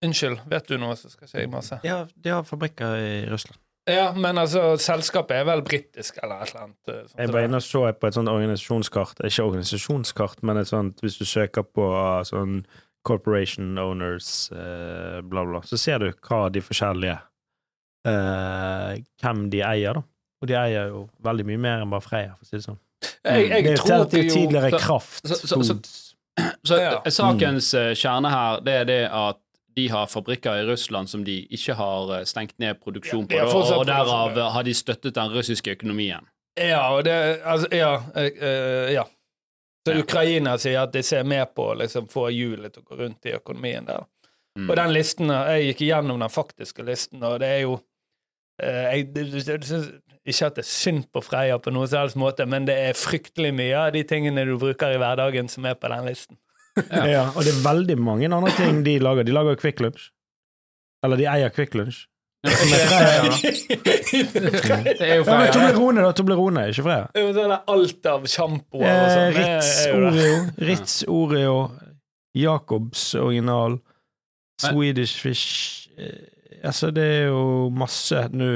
S4: Unnskyld, vet du noe, så skal ikke jeg masse.
S3: De har, de har fabrikker i Russland.
S4: Ja, men altså, selskapet er vel britisk eller et eller annet. eh, sånt
S3: Jeg var inne og så på et sånt organisasjonskart. Ikke organisasjonskart, men et sånt hvis du søker på ah, sånn corporation owners, eh, bla, bla, så ser du hva de forskjellige eh, Hvem de eier, da. Og de eier jo veldig mye mer enn bare Freia, for å si det sånn.
S4: jeg, jeg
S3: det er jo
S4: tror
S3: til- til
S4: jo-
S3: tidligere
S1: så-
S3: kraft.
S1: så- så- så-
S3: foods.
S1: Så
S4: Ja.
S1: eh, sakens eh, kjerne her, det er det at de har fabrikker i Russland som de ikke har eh, stengt ned produksjon på,
S4: Ja, de har
S1: da,
S4: fortsatt
S1: og derav
S4: produksjon,
S1: eh, har de støttet den russiske
S4: *laughs*
S1: økonomien.
S4: Ja, og det Altså, ja. eh, eh, ja. Så Ukraina sier at de ser med på å liksom, få hjulet til å gå rundt i økonomien der.
S1: Mm.
S4: Og den listen, jeg gikk igjennom den faktiske listen, og det er jo eh, jeg, det- det- det synes- Ikke at det er synd på Freia på noen som helst måte, men det er fryktelig mye av de tingene du bruker i hverdagen som er på den listen.
S3: Ja. og det er veldig mange andre ting de lager. De lager jo Quick Lunch. Eller de eier Quick Lunch.
S1: Det er jo
S3: Ja, men
S1: feil.
S3: Toblerone, da. Toblerone, ikke Freia.
S4: Det er jo sånn der alt av sjampoer og
S3: Eh,
S4: sånn. det
S3: Ritz
S4: er jo det.
S3: Oreo,
S4: *laughs*
S3: Ritz Oreo, Jacobs original,
S1: Men-
S3: Swedish Fish eh, Altså, det er jo masse nå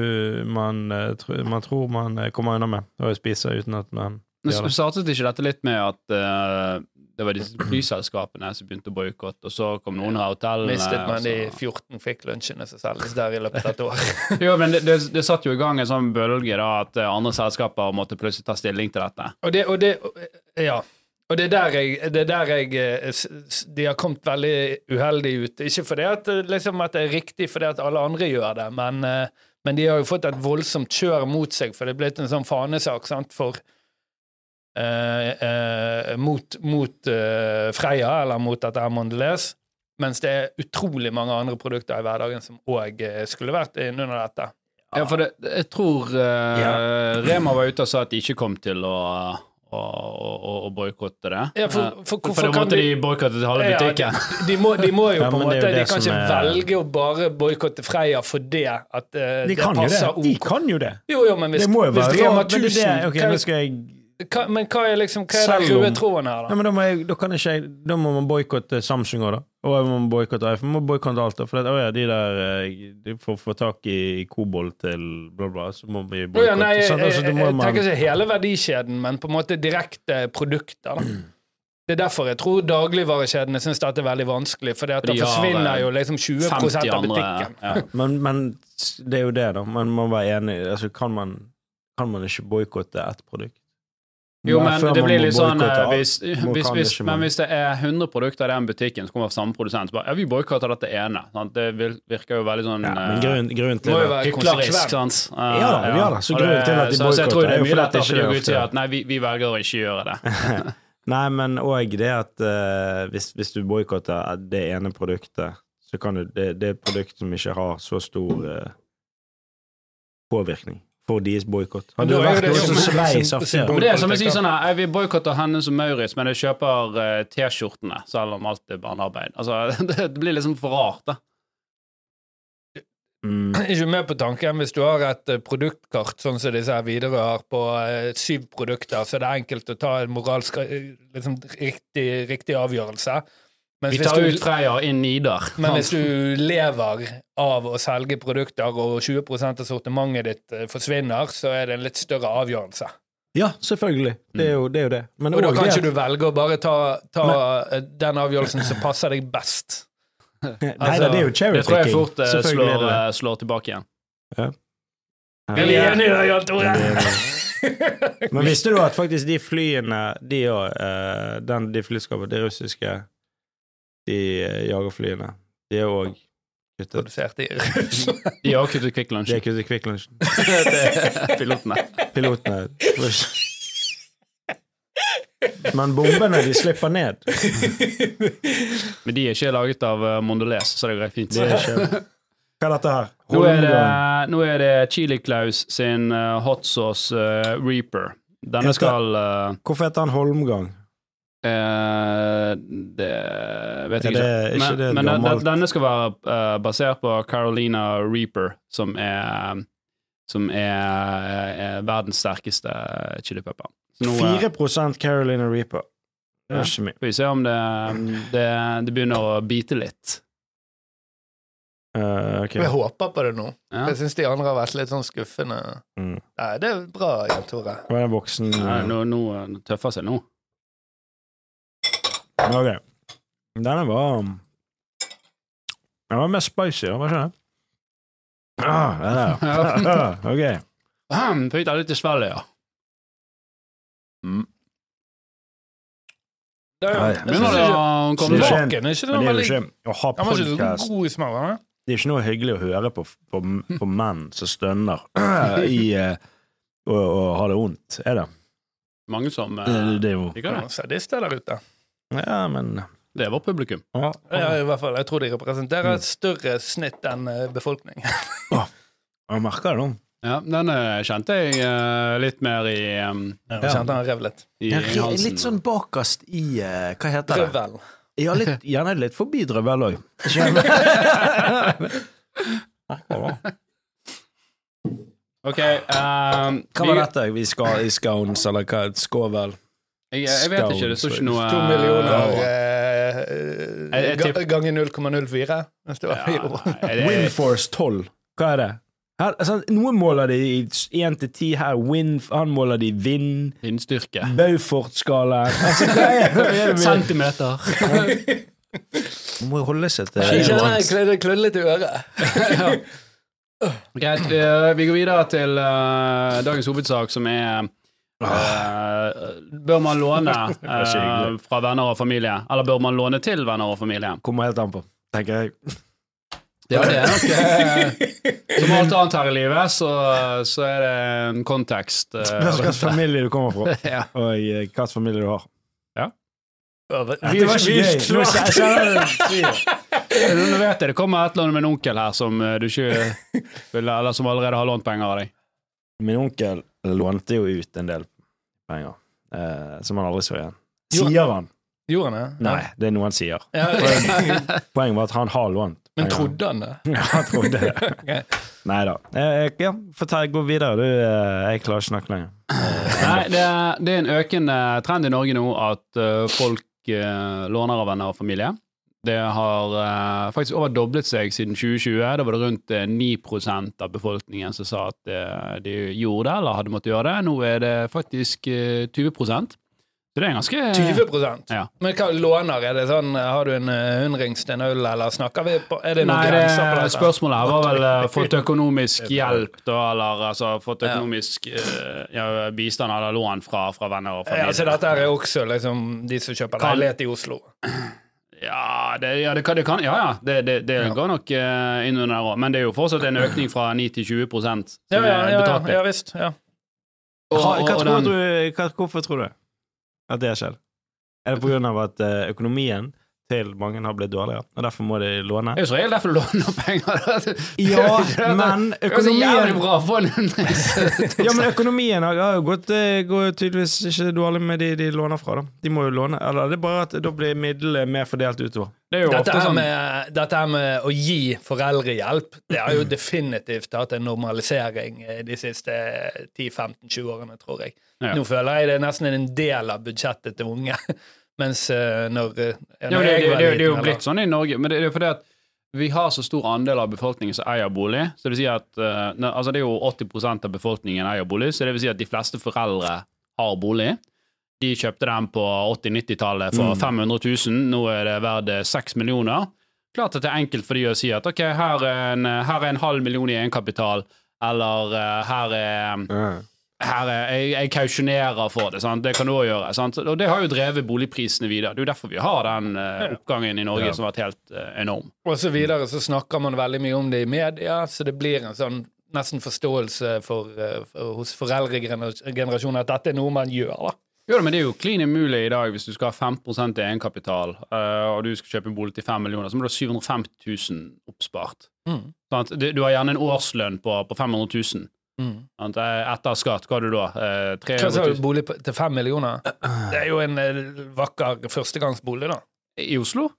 S3: man, eh, tr- man tror man eh, kommer unna med å spise uten at man
S1: Men
S3: gjør
S1: s-
S3: det.
S1: startet ikke dette litt med at eh, det var disse flyselskapene som begynte å boikotte, og så kom noen av hotellene
S4: Mistet man
S1: og
S4: de
S1: så-
S4: 14 fikk lunsjene som selges der i løpet av et år.
S1: Jo, men det, det, det satt jo i gang en sånn bølge da, at eh, andre selskaper måtte plutselig ta stilling til dette.
S4: Og det, og det Ja. Og det er der jeg, det er der jeg eh, s- s- De har kommet veldig uheldig ut. Ikke fordi at, eh, liksom, at det er riktig fordi at alle andre gjør det, men, eh, men de har jo fått et voldsomt kjør mot seg, for det er blitt en sånn fanesak sant, for eh, eh, mot, mot eh, Freia, eller mot dette her Mondelez, mens det er utrolig mange andre produkter i hverdagen som òg skulle vært innunder dette.
S1: Ja, for det, jeg tror eh, Rema var ute og sa at de ikke kom til å, å, å, å boikotte det.
S4: Ja, for-
S1: Eh, for,
S4: for hvorfor
S1: da
S4: kan
S1: måtte
S4: de-
S1: de boikotte til halve
S4: Ja,
S1: butikken.
S4: de, de, må, de må jo
S3: Ja,
S4: på en
S3: men det er
S4: måte
S3: jo
S4: De
S3: det
S4: kan
S3: som
S4: ikke
S3: er-
S4: velge å bare boikotte Freia fordi at eh,
S3: De
S4: det
S3: kan jo det!
S4: passer
S3: De
S4: OK.
S3: kan jo det!
S4: Jo, jo, men hvis,
S3: Det må jo
S4: hvis
S3: være
S4: Rema
S3: lov, men det
S4: 1000
S3: er det- ok,
S4: hva,
S3: nå skal jeg
S4: hva, Men hva er liksom Hva er den
S3: Selv om-
S4: røde tråden her,
S3: Nei,
S4: da?
S3: men da, må jeg, da kan ikke jeg Da må man boikotte Samsung òg, da. Og jeg må boikotte iPhone. Man må boikotte alt. da, For at, å ja, de der eh, De får få tak i kobolt til bla, bla, så må vi
S4: Å ja,
S3: boikotte.
S4: nei, jeg,
S3: sånn,
S4: jeg,
S3: altså, da
S4: jeg,
S3: må man-
S4: tenker ikke hele verdikjeden, men på en måte direkte produkter. da det er derfor jeg tror dagligvarekjedene syns dette er veldig vanskelig. For det
S1: For de har,
S4: forsvinner
S1: eh,
S4: jo liksom
S1: *laughs*
S4: 20 av
S1: 50 andre
S4: butikken.
S1: ja.
S3: Men, men s- det er jo det, da. Man må være enig. Altså, kan, man, kan man ikke boikotte ett produkt?
S1: Jo,
S3: Nei,
S1: men
S3: før
S1: det
S3: man
S1: blir
S3: må
S1: litt sånn
S3: boykotte
S1: eh,
S3: alt,
S1: hvis,
S3: må-
S1: hvis,
S3: kan
S1: hvis,
S3: ikke man-
S1: Men hvis det er 100 produkter i den butikken som kommer fra samme produsent, så bare Ja, vi boikotter dette ene. Sant? Det vil, virker jo veldig sånn
S3: ja, men
S1: eh,
S3: grunn, grunnen
S4: må
S3: til
S4: jo
S3: det
S4: være konsekvent.
S1: hyklerisk, sant. Eh,
S3: Ja da, ja da, så
S1: Og det-
S3: grunnen til at de
S1: så- Så jeg tror det er
S3: boykotter er jo
S1: mye
S3: fordi at
S1: lettere for de å gå
S3: det ikke
S1: ut og si
S3: er
S1: at nei, vi, vi velger å ikke gjøre det.
S3: *laughs* Nei, men òg det at eh, hvis, hvis du boikotter det ene produktet, så kan du Det, det er et produkt som ikke har så stor eh, påvirkning for deres boikott. Hadde
S4: Men
S3: det
S4: da er jo
S3: vært
S4: det
S3: noe som
S4: som-
S3: svei
S4: som-
S3: saftigere?
S1: Men det er som jeg sier sånn her, jeg vil boikotte Hennes og Maurits, men jeg kjøper eh, T-skjortene, selv om alt er barnearbeid. Altså, *laughs* det, det blir liksom for rart, da.
S3: Altså, Mm.
S4: ikke med på tanken hvis du har et eh, produktkart, sånn som disse her Widerøe har, på eh, syv produkter, så det er enkelt å ta en moralsk eh, liksom, riktig, riktig avgjørelse. Mens
S1: Vi
S4: hvis,
S1: tar ut
S4: du,
S1: Freia og inn Nidar.
S4: men hvis du lever av å selge produkter, og 20 av sortimentet ditt eh, forsvinner, så er det en litt større avgjørelse.
S3: Ja, selvfølgelig. Det er jo det. Er jo det. Men
S4: Og da
S3: også
S4: kan
S3: det at-
S4: ikke du velge å bare ta, ta eh, den avgjørelsen som passer deg best.
S3: Nei, da, det er jo cherry
S1: Det tror jeg
S3: picking.
S1: fort eh,
S3: Selvfølgelig
S1: slår,
S3: er det
S1: eh, slår tilbake igjen.
S3: det.
S4: Er vi enige da, Jan Tore?
S3: Men visste du at faktisk de flyene, de og eh, den, de flyskapet, de russiske de eh, jagerflyene, de er òg kuttet.
S4: Produsert i *laughs* Russland.
S1: De har kuttet Quick Lunch.
S3: De er kuttet Quick Lunch.
S1: *laughs* Pilotene.
S3: Pilotene Men bombene de slipper ned.
S1: Men de er ikke laget av eh, Mondelez, så det går helt fint.
S3: Det er ikke Hva er dette her?
S1: Nå er det, nå er det Chili Claus sin eh, hot sauce eh, Reaper. Denne skal eh,
S3: Hvorfor heter han Holmgang?
S1: eh, Det vet jeg
S3: Er det-
S1: ikke.
S3: er ikke
S1: Men,
S3: det
S1: men den-
S3: gammelt?
S1: denne skal være eh, basert på Carolina Reaper, som er som er, er verdens sterkeste chilipepper. Så nå eh,
S3: 4 Carolina Reaper. Det er ikke mye.
S1: får vi se om det, det, det begynner å bite litt.
S3: Eh, ok.
S4: Jeg håper på det nå.
S1: Ja.
S4: Jeg syns de andre har vært litt sånn skuffende.
S3: Mm.
S4: Nei, det er bra, Jan Tore.
S3: Var det voksen
S1: Nei, Nå, nå nå tøffer seg nå.
S3: Ok. Denne var um, Den var mer spicy, da, var ikke det? Ah,
S4: *laughs*
S3: den der. *laughs* ok.
S1: Ahem, Fikk det litt i svelget, ja.
S4: Det er jo-
S3: Nei,
S4: jeg
S3: men
S1: Begynner
S4: synes
S1: det
S4: ikke-
S1: å komme
S3: det
S1: tilbake?
S4: smaken er ikke noe
S3: Men det er jo
S4: veldig
S3: ikke å ha
S4: Han var ikke
S3: podcast
S4: så god i smak, var han?
S3: Det er ikke noe hyggelig å høre på, på, på menn
S4: *laughs*
S3: som stønner i eh, og, og har det vondt, er det?
S1: Mange som eh,
S3: Det, det er jo
S1: liker det.
S4: Sadister der ute.
S3: Ja, men
S1: Det er vårt publikum.
S3: ja,
S4: Ja, i hvert fall, Jeg tror de representerer et større snitt enn eh, befolkning. *laughs*
S3: Jeg merker det nå.
S1: Ja, den eh, kjente jeg eh, litt mer i, em,
S4: Jeg kjente han rev litt.
S1: i halsen.
S3: Litt sånn bakerst i eh, Hva heter det?
S4: Drøvel.
S3: Ja, litt, gjerne litt forbi drøvel *laughs* òg.
S1: Ok, ehm, em,
S3: Hva var dette? Vi skal i scones, eller hva? Et skåvel?
S1: Jeg, jeg vet ikke, det står ikke noe
S4: To millioner
S1: Ja,
S4: eh,
S1: Jeg- jeg
S4: ga-
S1: tipper-
S4: ganger 0,04. Hvis *laughs* det var euro.
S1: nei, det,
S3: Windforce 12. Hva er det? Her, altså, noen måler de i 1 til 10 her. Wind, han måler de vind. *laughs*
S1: Vindstyrke.
S3: Beaufort-skalaen altså, hva er- hva er det vi-
S1: Centimeter.
S3: Man må jo holde seg til
S4: Jeg kjenner jeg klør- det klør litt i *laughs* øret.
S1: Greit, vi, vi går videre til eh, dagens hovedsak, som er eh, Bør man
S3: *laughs*
S1: låne eh,
S3: ikke hyggelig.
S1: fra venner og familie? Eller bør man låne til venner og familie?
S3: Kommer helt an på, tenker jeg.
S1: Ja, det er nok eh, Som alt annet her i livet, så, så er det en kontekst. eh,
S3: Spørs hvilken familie du kommer fra,
S1: *laughs* ja.
S3: og eh, hvilken familie du har.
S4: Vi var ikke
S3: gøy. Nå
S4: klart.
S3: kjenner jeg- jeg kjenner-
S1: Nå vet jeg det kommer et eller annet med en onkel her som eh, du ikke vil, Eller som allerede har lånt penger av deg.
S3: Min onkel lånte jo ut en del penger, eh, som han aldri så igjen. Sier han?
S4: Gjorde han det?
S3: Nei, det er noe han sier.
S4: *laughs* Ja.
S3: Poenget var at han har lånt.
S4: Men
S3: penger.
S4: trodde han det?
S3: *laughs* Ja, han trodde det. Nei da. Ja, fortell, gå videre, du. eh, Jeg klarer ikke å snakke lenger.
S1: Nei, det er, det er en økende trend i Norge nå at eh, folk eh, låner av venner og familie. Det har eh, faktisk over doblet seg siden 2020. Da var det rundt eh, 9 av befolkningen som sa at eh, de gjorde det, eller hadde måttet gjøre det. Nå er det faktisk eh, 20 Så det er ganske
S4: 20
S1: Ja.
S4: Men hva låner? Er det sånn, Har du en eh, hundrings til en øl, eller snakker vi på Er det noen
S1: Nei,
S4: grenser på
S1: det,
S4: dette?
S1: spørsmålet her var vel eh, fått
S4: *laughs*
S1: økonomisk hjelp, da, eller altså fått økonomisk eh, ja, bistand eller lån fra, fra venner og
S4: Ja, så
S1: familie.
S4: dette her er også liksom de som kjøper
S1: Kan-
S4: leilighet i Oslo.
S1: Ja, det, ja, det, kan, det kan Ja, ja, det, det, det går nok eh, inn under der òg, men det er jo fortsatt en økning fra 9 til 20 prosent,
S4: Ja,
S1: som
S4: ja, ja,
S1: er
S4: ja,
S1: betraktelig.
S4: ja visst. Ja.
S1: Og,
S3: Hva,
S1: og,
S3: hva
S1: og
S3: tror
S1: den,
S3: du, hva, hvorfor tror du at det har skjedd? Er det på grunn av at eh, økonomien til mange har blitt dårligere, og derfor må de låne?
S1: det er jo så reelt derfor du låner *laughs* penger.
S3: Ja, men
S1: Det er jo så jævlig
S3: økonomien
S1: bra å få en hundrings.
S3: ja, men økonomien har har jo gått eh, går tydeligvis ikke dårlig med de de låner fra. da. De må jo låne. Eller det er bare at da blir midlene mer fordelt utover.
S1: *laughs* Det er jo
S4: Dette
S1: ofte
S4: her,
S1: sånn
S4: med, dette her med å gi foreldrehjelp, det har jo definitivt hatt en normalisering eh, de siste 10-15-20 årene, tror jeg.
S1: Ja.
S4: Nå føler jeg det er nesten en del av budsjettet til unge. *laughs* Mens eh, når, eh,
S1: Ja,
S4: når
S1: men det,
S4: jeg
S1: det,
S4: var
S1: det, det er jo
S4: liten,
S1: blitt sånn i Norge, men det, det er jo fordi at vi har så stor andel av befolkningen som eier bolig. Så det, vil si at, eh, ne- altså det er jo 80 av befolkningen eier bolig, så det vil si at de fleste foreldre har bolig. De kjøpte den på 80-90-tallet for 500 000, nå er det verdt 6 millioner. Klart at det er enkelt for de å si at ok, her er en, eh, her er en halv million i egenkapital, eller eh, her er her er, jeg, jeg kausjonerer for det. Sant? Det kan du òg gjøre. Sant? Og det har jo drevet boligprisene videre. Det er jo derfor vi har den eh, oppgangen i Norge som har vært helt eh, enorm.
S4: Og så videre så snakker man veldig mye om det i media, så det blir en sånn nesten forståelse for, eh, for, hos foreldregenerasjonen at dette er noe man gjør, da.
S1: Jo da, men det er jo klin umulig i dag hvis du skal ha 5 i egenkapital, eh, og du skal kjøpe en bolig til 5 millioner, så må du ha 750 000 oppspart.
S4: Mm.
S1: Sant? Du, du har gjerne en årslønn på, på 500 000. Sant? Eh, Etter skatt, hva har du da? Eh,
S4: Mm. Hva sa
S1: 300
S4: du,
S1: 000
S4: bolig på- til fem millioner? Det er jo en eh, vakker førstegangsbolig, da.
S1: i Oslo?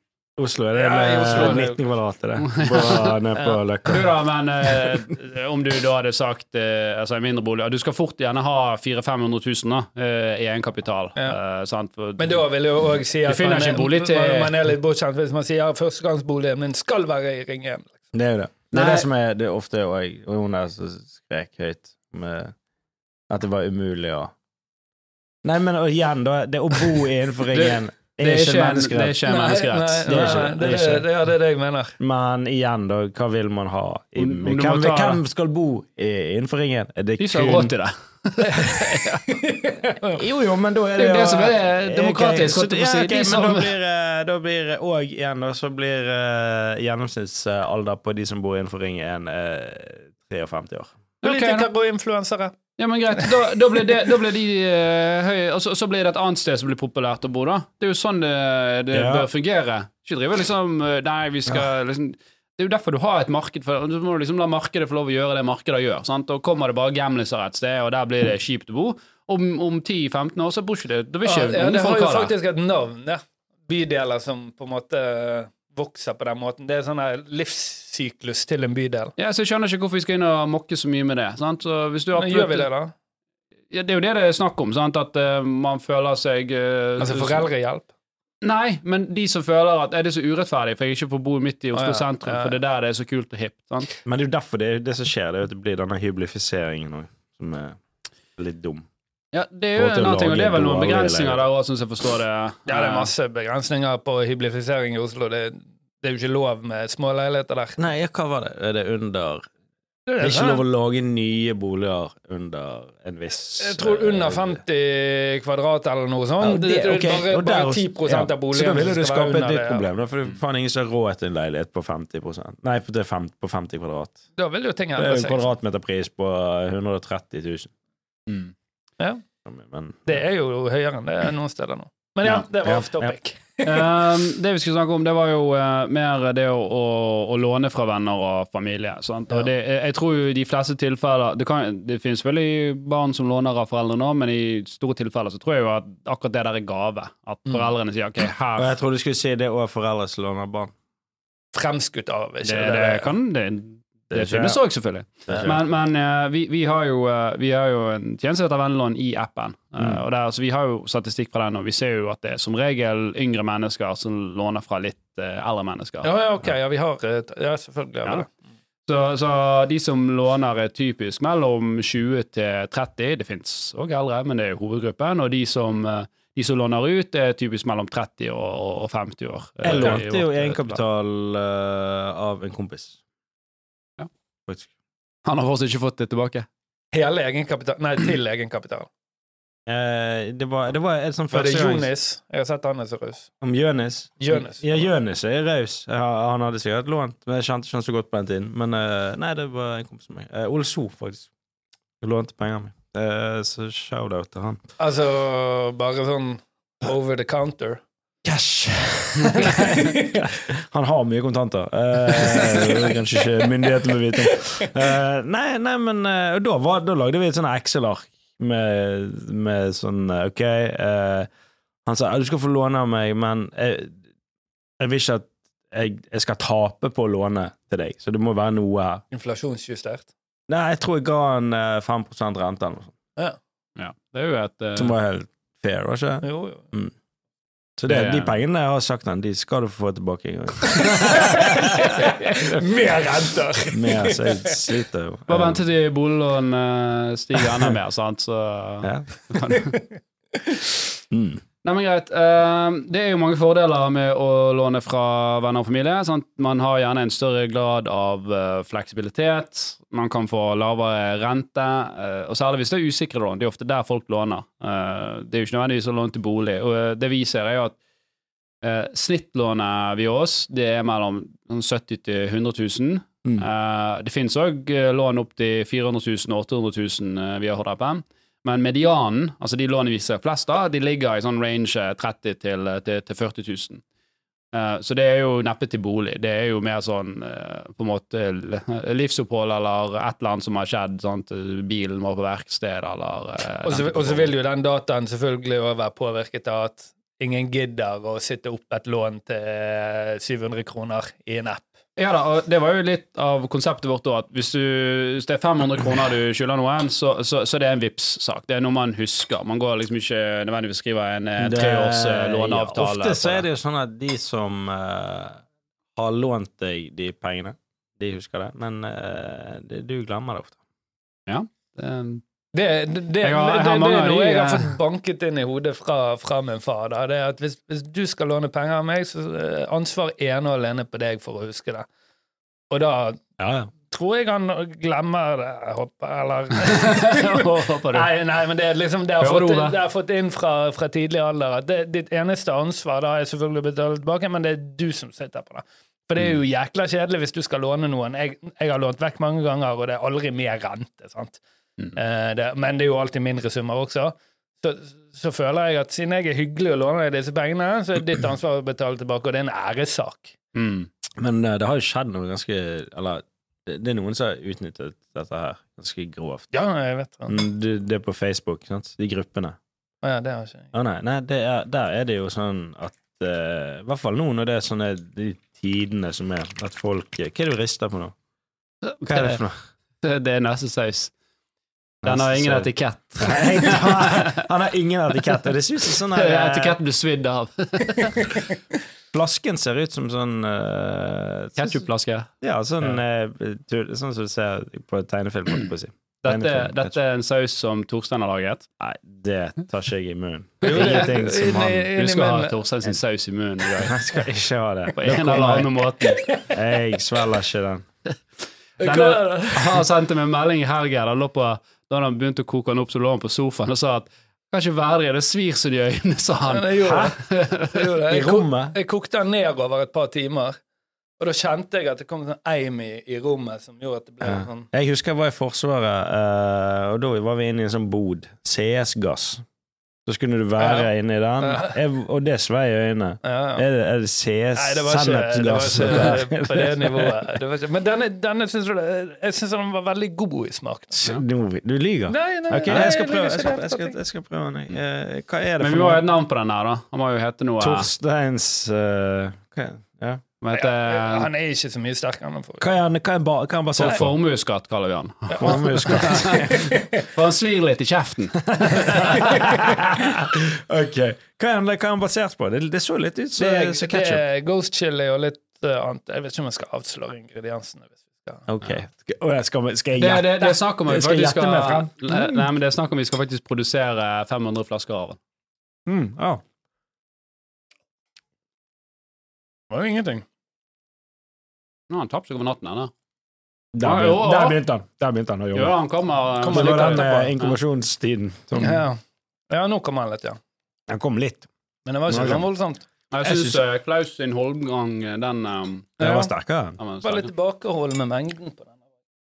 S3: Oslo er det
S2: Ja, i Oslo er
S3: med
S2: det-
S3: 19 kvadrat i det.
S1: *laughs*
S3: På- Ned på Løkka.
S1: Du da, men eh, om du da hadde sagt eh, altså en mindre bolig ja, Du skal fort gjerne ha 400 000-500 000 da, eh, i egenkapital. eh, sant? For-
S4: Men da vil jeg òg si at
S1: finner
S4: man
S1: ikke
S4: er,
S1: en bolig til-
S4: man- man er litt bortskjemt hvis man sier at førstegangsboligen min skal være i Ring 1.
S3: Det er jo det. Det er
S1: Nei.
S3: det som er det er ofte Og, jeg, og hun der som skrek høyt med at det var umulig å Nei, men og igjen, da. Det å
S1: *laughs*
S3: bo innenfor
S1: Det-
S3: ringen er
S1: det er
S3: ikke en
S1: det er
S3: menneskerett.
S1: ikke en menneskerett.
S3: Det er
S4: Nei,
S3: ikke-
S4: nei,
S3: det
S4: det,
S3: er
S4: er
S3: ikke.
S4: det, ja, det er det jeg mener.
S3: Men igjen, da. Hva vil man ha? I,
S1: Om- om du må
S3: hvem,
S1: ta-
S3: hvem skal bo i, innenfor ringen? Er det
S1: De som har råd til det.
S3: Jo, jo, men da er
S1: Det er
S3: det
S1: jo det som er
S3: Ja,
S1: demokratisk,
S3: ok,
S1: holdt jeg på å
S3: så-
S1: si.
S3: ja,
S1: De
S3: ok,
S1: som-
S3: Men da blir, eh, da blir eh, og igjen, da, så blir eh, gjennomsnittsalder på de som bor innenfor eh, ring 1, 53 år.
S4: Politikere og influensere.
S1: Ja, men greit. Da, da blir det, da blir de eh, høye, og så, så blir det et annet sted som blir populært å bo, da. Det er jo sånn det, det
S3: Ja.
S1: bør fungere. Ikke drive liksom eh, Nei, vi skal liksom Det er jo derfor du har et marked, for du må liksom la markedet få lov å gjøre det markedet gjør. sant? Og kommer det bare gamliser et sted, og der blir det kjipt å bo. Om, om 10-15 år så bor ikke det Da vil
S4: Ja,
S1: ikke
S4: ja, det
S1: unge
S4: har
S1: folk
S4: jo
S1: ha det.
S4: faktisk et navn, ja. Bydeler som på en måte eh, vokser på den måten. Det er sånn her livssyklus til en bydel.
S1: Ja, så Jeg skjønner ikke hvorfor vi skal inn og mokke så mye med det. sant? Så hvis du
S4: Men Gjør
S1: absolutt,
S4: vi det, da?
S1: ja, det er jo det det er snakk om, sant? at eh, man føler seg eh,
S4: Altså foreldrehjelp?
S1: Nei, men de som føler at er det så urettferdig, for jeg ikke får bo midt i Oslo
S4: Å, ja.
S1: sentrum,
S4: Ja, ja.
S1: for det er der det er så kult og hipt. sant?
S3: Men det er jo derfor det, det som skjer, det er jo at det blir denne hyblifiseringen òg, som er litt dum.
S1: Ja, Det er jo
S3: Og til
S1: en
S3: å
S1: annen ting, og det er vel
S3: lage
S1: noen
S3: bolig,
S1: begrensninger
S3: eller-
S1: der òg, syns jeg forstår det.
S4: Ja, det er masse begrensninger på hyblifisering i Oslo. Det, det er jo ikke lov med små leiligheter der.
S3: Nei, ja, hva var det? Er det under Det er ikke lov å lage nye boliger under en viss
S4: Jeg tror under 50 kvadrat eller noe
S3: Ja,
S4: sånt.
S3: det-
S4: Det,
S3: ok,
S4: bare,
S3: og der
S4: bare
S3: også-
S4: 10
S3: ja.
S4: av boligene
S3: Så da ville
S4: som
S3: du
S4: skal være
S3: skape et
S4: under
S3: nytt
S4: det, ja.
S3: problem. Da, for det er faen ingen som har råd til en leilighet på 50 Nei, på, til fem, på 50 kvadrat.
S4: Da vil jo ting
S3: Det er
S4: endre
S3: jo en
S4: seg.
S3: kvadratmeterpris på 130 000.
S1: Mm.
S3: Men,
S4: Det er jo høyere enn det er noen steder nå. Men
S1: Ja,
S4: ja, det
S3: ja,
S4: var off topic.
S1: Ehm, det vi skulle snakke om, det var jo eh, mer det å, å, å låne fra venner og familie. Sant? Og det, eh, jeg tror jo i de fleste tilfeller Det, kan, det finnes selvfølgelig barn som låner av foreldrene òg, men i store tilfeller så tror jeg jo at akkurat det der er gave. At
S4: Mm.
S1: foreldrene sier ok,
S3: og
S1: her
S3: jeg tror du skulle si det òg foreldre som låner barn.
S4: Fremskutt av,
S1: Det,
S4: ikke
S1: det, kan, det, det
S3: skjer.
S1: finnes òg, selvfølgelig.
S3: Det skjer.
S1: Men, men eh, vi, vi, har jo, eh, vi har jo en tjeneste etter vennelån i appen. Eh,
S3: Mm.
S1: og der, så vi har jo statistikk fra den, og vi ser jo at det er som regel yngre mennesker som låner fra litt eh, eldre mennesker.
S4: Ja, ja, ok, ja, vi har et- Ja, selvfølgelig.
S1: Ja.
S4: Ja.
S1: Så, så de som låner, er typisk mellom 20 til 30. Det fins òg eldre, men det er jo hovedgruppen. Og de som, eh, de som låner ut, er typisk mellom 30 og, og- og 50 år. eh,
S3: Jeg
S1: i
S3: lånte jo
S1: vårt, eh,
S3: egenkapital eh, av en kompis.
S1: Ja.
S3: Faktisk.
S1: Han har fortsatt ikke fått det tilbake.
S4: Hele egenkapital Nei, til *clears throat* egenkapital.
S3: Eh, det, var, det var et sånt
S4: For det er
S3: førstegangs-
S4: Jonis. Jeg har sett han er så raus.
S3: Om Jonis?
S4: Jonis.
S3: Ja, Jonis er raus. Jeg har- Han hadde sikkert lånt, men jeg kjente ikke han så godt på den tiden. Men eh, nei, det var en kompis av meg. Eh, Ole So, faktisk. Jeg lånte pengene mine. Eh, så shout-out til han.
S4: Altså, bare sånn over the *laughs* counter.
S3: *laughs* Cash! han har mye kontanter. Eh, det er kanskje ikke myndighetene vil vite om. Eh, nei, nei, men eh, og da, var, da lagde vi et sånn Excel-ark med, med sånn eh, OK eh, Han sa «Ja, du skal få låne av meg, men jeg, jeg vil ikke at jeg, jeg skal tape på å låne til deg, så det må være noe her.
S4: Inflasjonsjustert.
S3: Nei, jeg tror jeg ga han eh, 5 rente eller noe sånt,
S1: Ja, det er jo et eh,
S3: som var helt fair, var ikke det?
S4: Jo, jo.
S3: Så det,
S1: Det-
S3: de pengene jeg har sagt han, de skal du få tilbake en gang.
S1: *laughs*
S4: Mer renter!
S3: Mer, så jeg sliter jo.
S1: Bare vente til boliglån eh, stiger enda mer, *laughs* sant, så
S3: Ja. *laughs*
S1: kan du
S3: Mm.
S1: Nei, men greit. Eh, Det er jo mange fordeler med å låne fra venner og familie. Sant? Man har gjerne en større grad av eh, fleksibilitet. Man kan få lavere rente. eh, og særlig hvis det er usikre lån. Det er ofte der folk låner. Eh, det er jo ikke nødvendigvis å låne til bolig. Og eh, det vi ser, er jo at eh, snittlånet vi gir oss, det er mellom sånn 70 til 100 000.
S3: Mm.
S1: Eh, det finnes òg lån opp til 400 000 og 800 000 eh, via HDFM. Men medianen, altså de lånene vi ser flest av, de ligger i sånn range eh, 30 til, til, til 40 000. Eh, så det er jo neppe til bolig. Det er jo mer sånn eh, på en måte l- livsopphold eller et eller annet som har skjedd. Sant? Bilen må på verksted eller eh,
S4: *laughs* Og så-
S1: den type
S4: og så
S1: ting.
S4: vil jo den dataen selvfølgelig også være påvirket av at ingen gidder å sitte opp et lån til eh, 700 kroner i en app.
S1: Ja da, og det var jo litt av konseptet vårt òg, at hvis, du, hvis det er 500 kroner du skylder noen, så, så, så det er en vips sak Det er noe man husker. Man går liksom ikke nødvendigvis skriver en eh,
S3: Det-
S1: treårs eh,
S3: ja,
S1: låneavtale.
S3: Ofte så er det jo sånn at de som eh, har lånt deg de pengene, de husker det, men eh, det, du glemmer det ofte.
S1: *laughs* Eh,
S4: Det, det, det,
S1: Jeg har- jeg
S4: det,
S1: har
S4: det,
S1: mange av
S4: er noe
S1: de,
S4: jeg har
S1: eh,
S4: fått banket inn i hodet fra, fra min far. Da. Det er at hvis, hvis du skal låne penger av meg, så er ansvar ene og alene på deg for å huske det. Og da
S3: Ja, ja.
S4: tror jeg han glemmer det, jeg håper,
S1: *laughs*
S4: eller *laughs*
S1: Håper du.
S4: Nei, nei, men det er liksom det jeg har
S1: Hører
S4: fått,
S1: du, Ove?
S4: det jeg har fått inn fra, fra tidlig alder at det, ditt eneste ansvar da er selvfølgelig å betale tilbake, men det er du som sitter på det. For det er jo jækla kjedelig hvis du skal låne noen. Jeg, jeg har lånt vekk mange ganger, og det er aldri mer rente. sant?
S1: Mm.
S4: Eh, det, men det er jo alltid mindre summer også. Så, så føler jeg at siden jeg er hyggelig og låner deg disse pengene, så er ditt ansvar å betale tilbake, og det er en æressak.
S1: Mm.
S3: Men eh, det har jo skjedd noe ganske Eller det, det er noen som har utnyttet dette her ganske grovt.
S4: Ja, jeg vet det.
S3: Mm, Det, det er på Facebook, sant? de gruppene.
S4: Å Ja, det har ikke jeg.
S3: Å nei, nei det er, der er det jo sånn at eh, I hvert fall nå når det er sånne de tidene som er, at folk eh, Hva er det du rister på nå? Hva er det for noe?
S1: Det, det er nesesaus. Den har ingen
S3: etikett.
S1: etikett.
S3: Han har ingen etikett, og det ser ut som sånn her eh,
S1: Etiketten blir svidd av.
S3: Flasken ser ut som sånn uh,
S1: Ketchupflaske.
S3: Ja, sånn, eh, tur- sånn som du ser på tegnefilm, holdt jeg på å si.
S1: Dette,
S3: Tegnefilm,
S1: dette er en saus som Torstein har laget.
S3: Nei, det tar ikke jeg i munnen.
S4: Jo, det-
S3: Ingenting som han
S4: Inni-
S1: Du
S4: inni
S1: skal ha
S4: munnen.
S1: Torstein sin saus i
S3: *laughs*
S1: munnen i dag.
S3: Jeg skal ikke ha det.
S1: På en eller annen måte.
S3: Jeg svelger ikke den.
S1: Denne, *laughs* han sendte meg en melding i helgen. Han lå på, da han begynte å koke den opp, så lå han på sofaen og sa at kan ikke være det, det svir så de øynene, sa han.
S4: Men jeg gjorde det. Jeg gjorde det.
S3: I
S4: Jeg ko-
S3: rommet?
S4: Jeg kokte den ned over et par timer, og da kjente jeg at det kom sånn eim i, i rommet som gjorde at det ble
S3: Ja.
S4: sånn
S3: Jeg husker jeg var i Forsvaret, eh, og da var vi inne i en sånn bod. CS-gass. Så skulle du være inni den,
S4: Ja.
S3: jeg, og det svei i øynene.
S4: ja, ja.
S3: Er det, er det CS
S4: Nei, det var ikke, det var
S3: sennepsgass?
S4: *laughs* ikke på det nivået. Det var ikke. Men denne, denne syns jeg, jeg synes den var veldig god i smak.
S3: Du, du lyver.
S4: Nei, nei,
S3: Ok,
S4: nei,
S3: jeg skal
S4: liker
S3: prøve.
S4: ikke
S3: Jeg
S4: det.
S3: skal, jeg skal, jeg skal prøve den. Eh, Hva er det
S1: Men vi
S3: for
S1: må ha et
S3: noe?
S1: navn på den her, da. Han må jo hete noe
S3: Torsteins eh, Hva er ja.
S1: Hva
S4: Ja, ja,
S1: heter eh,
S4: Han er ikke så mye sterkere enn den forrige.
S3: eh, Hva er han- hva er han ba- hva er han
S1: For
S3: basert på?
S1: formuesskatt, kaller vi han.
S3: Formuesskatt.
S1: For han svir litt i kjeften.
S3: *laughs* ok. Hva er, den, hva er den basert på? Det, det så litt ut
S4: Det,
S3: som
S4: er-
S3: som
S4: det
S3: ketchup.
S4: er ghost chili og litt eh, annet. Jeg vet ikke om jeg skal avsløre ingrediensene. Hvis vi skal.
S3: Ok. Å, jeg skal, skal jeg
S1: Det,
S3: gjette?
S1: det, det er snakk om at vi
S3: Skal jeg
S1: faktisk
S3: gjette
S1: skal,
S3: meg frem?
S1: nei, men det er snakk om at vi skal faktisk produsere 500 flasker av den.
S3: Mm, ja.
S4: Det var jo ingenting.
S1: Nå har han tapt seg over natten, han. da.
S3: Der,
S1: Ja,
S3: begynte-
S1: jo, ja.
S3: der begynte han. Der begynte han å
S1: Jo,
S3: jobbe.
S1: han kommer,
S4: Kommer
S3: Så
S1: han
S3: det
S1: kommer
S3: var den
S1: litt
S3: eh,
S1: etterpå.
S3: inkubasjonstiden som
S4: Ja, ja nå kom han litt, ja.
S3: Den kom litt.
S4: Men det var ikke
S3: Nå er
S4: sånn voldsomt.
S1: Ja. Jeg
S3: Jeg
S1: syns
S3: synes-
S1: Klaus sin holmgang, eh, den um,
S3: Den
S4: Ja.
S3: var sterkere.
S1: den var
S4: Det var litt
S1: sterk.
S4: tilbakehold med mengden på den.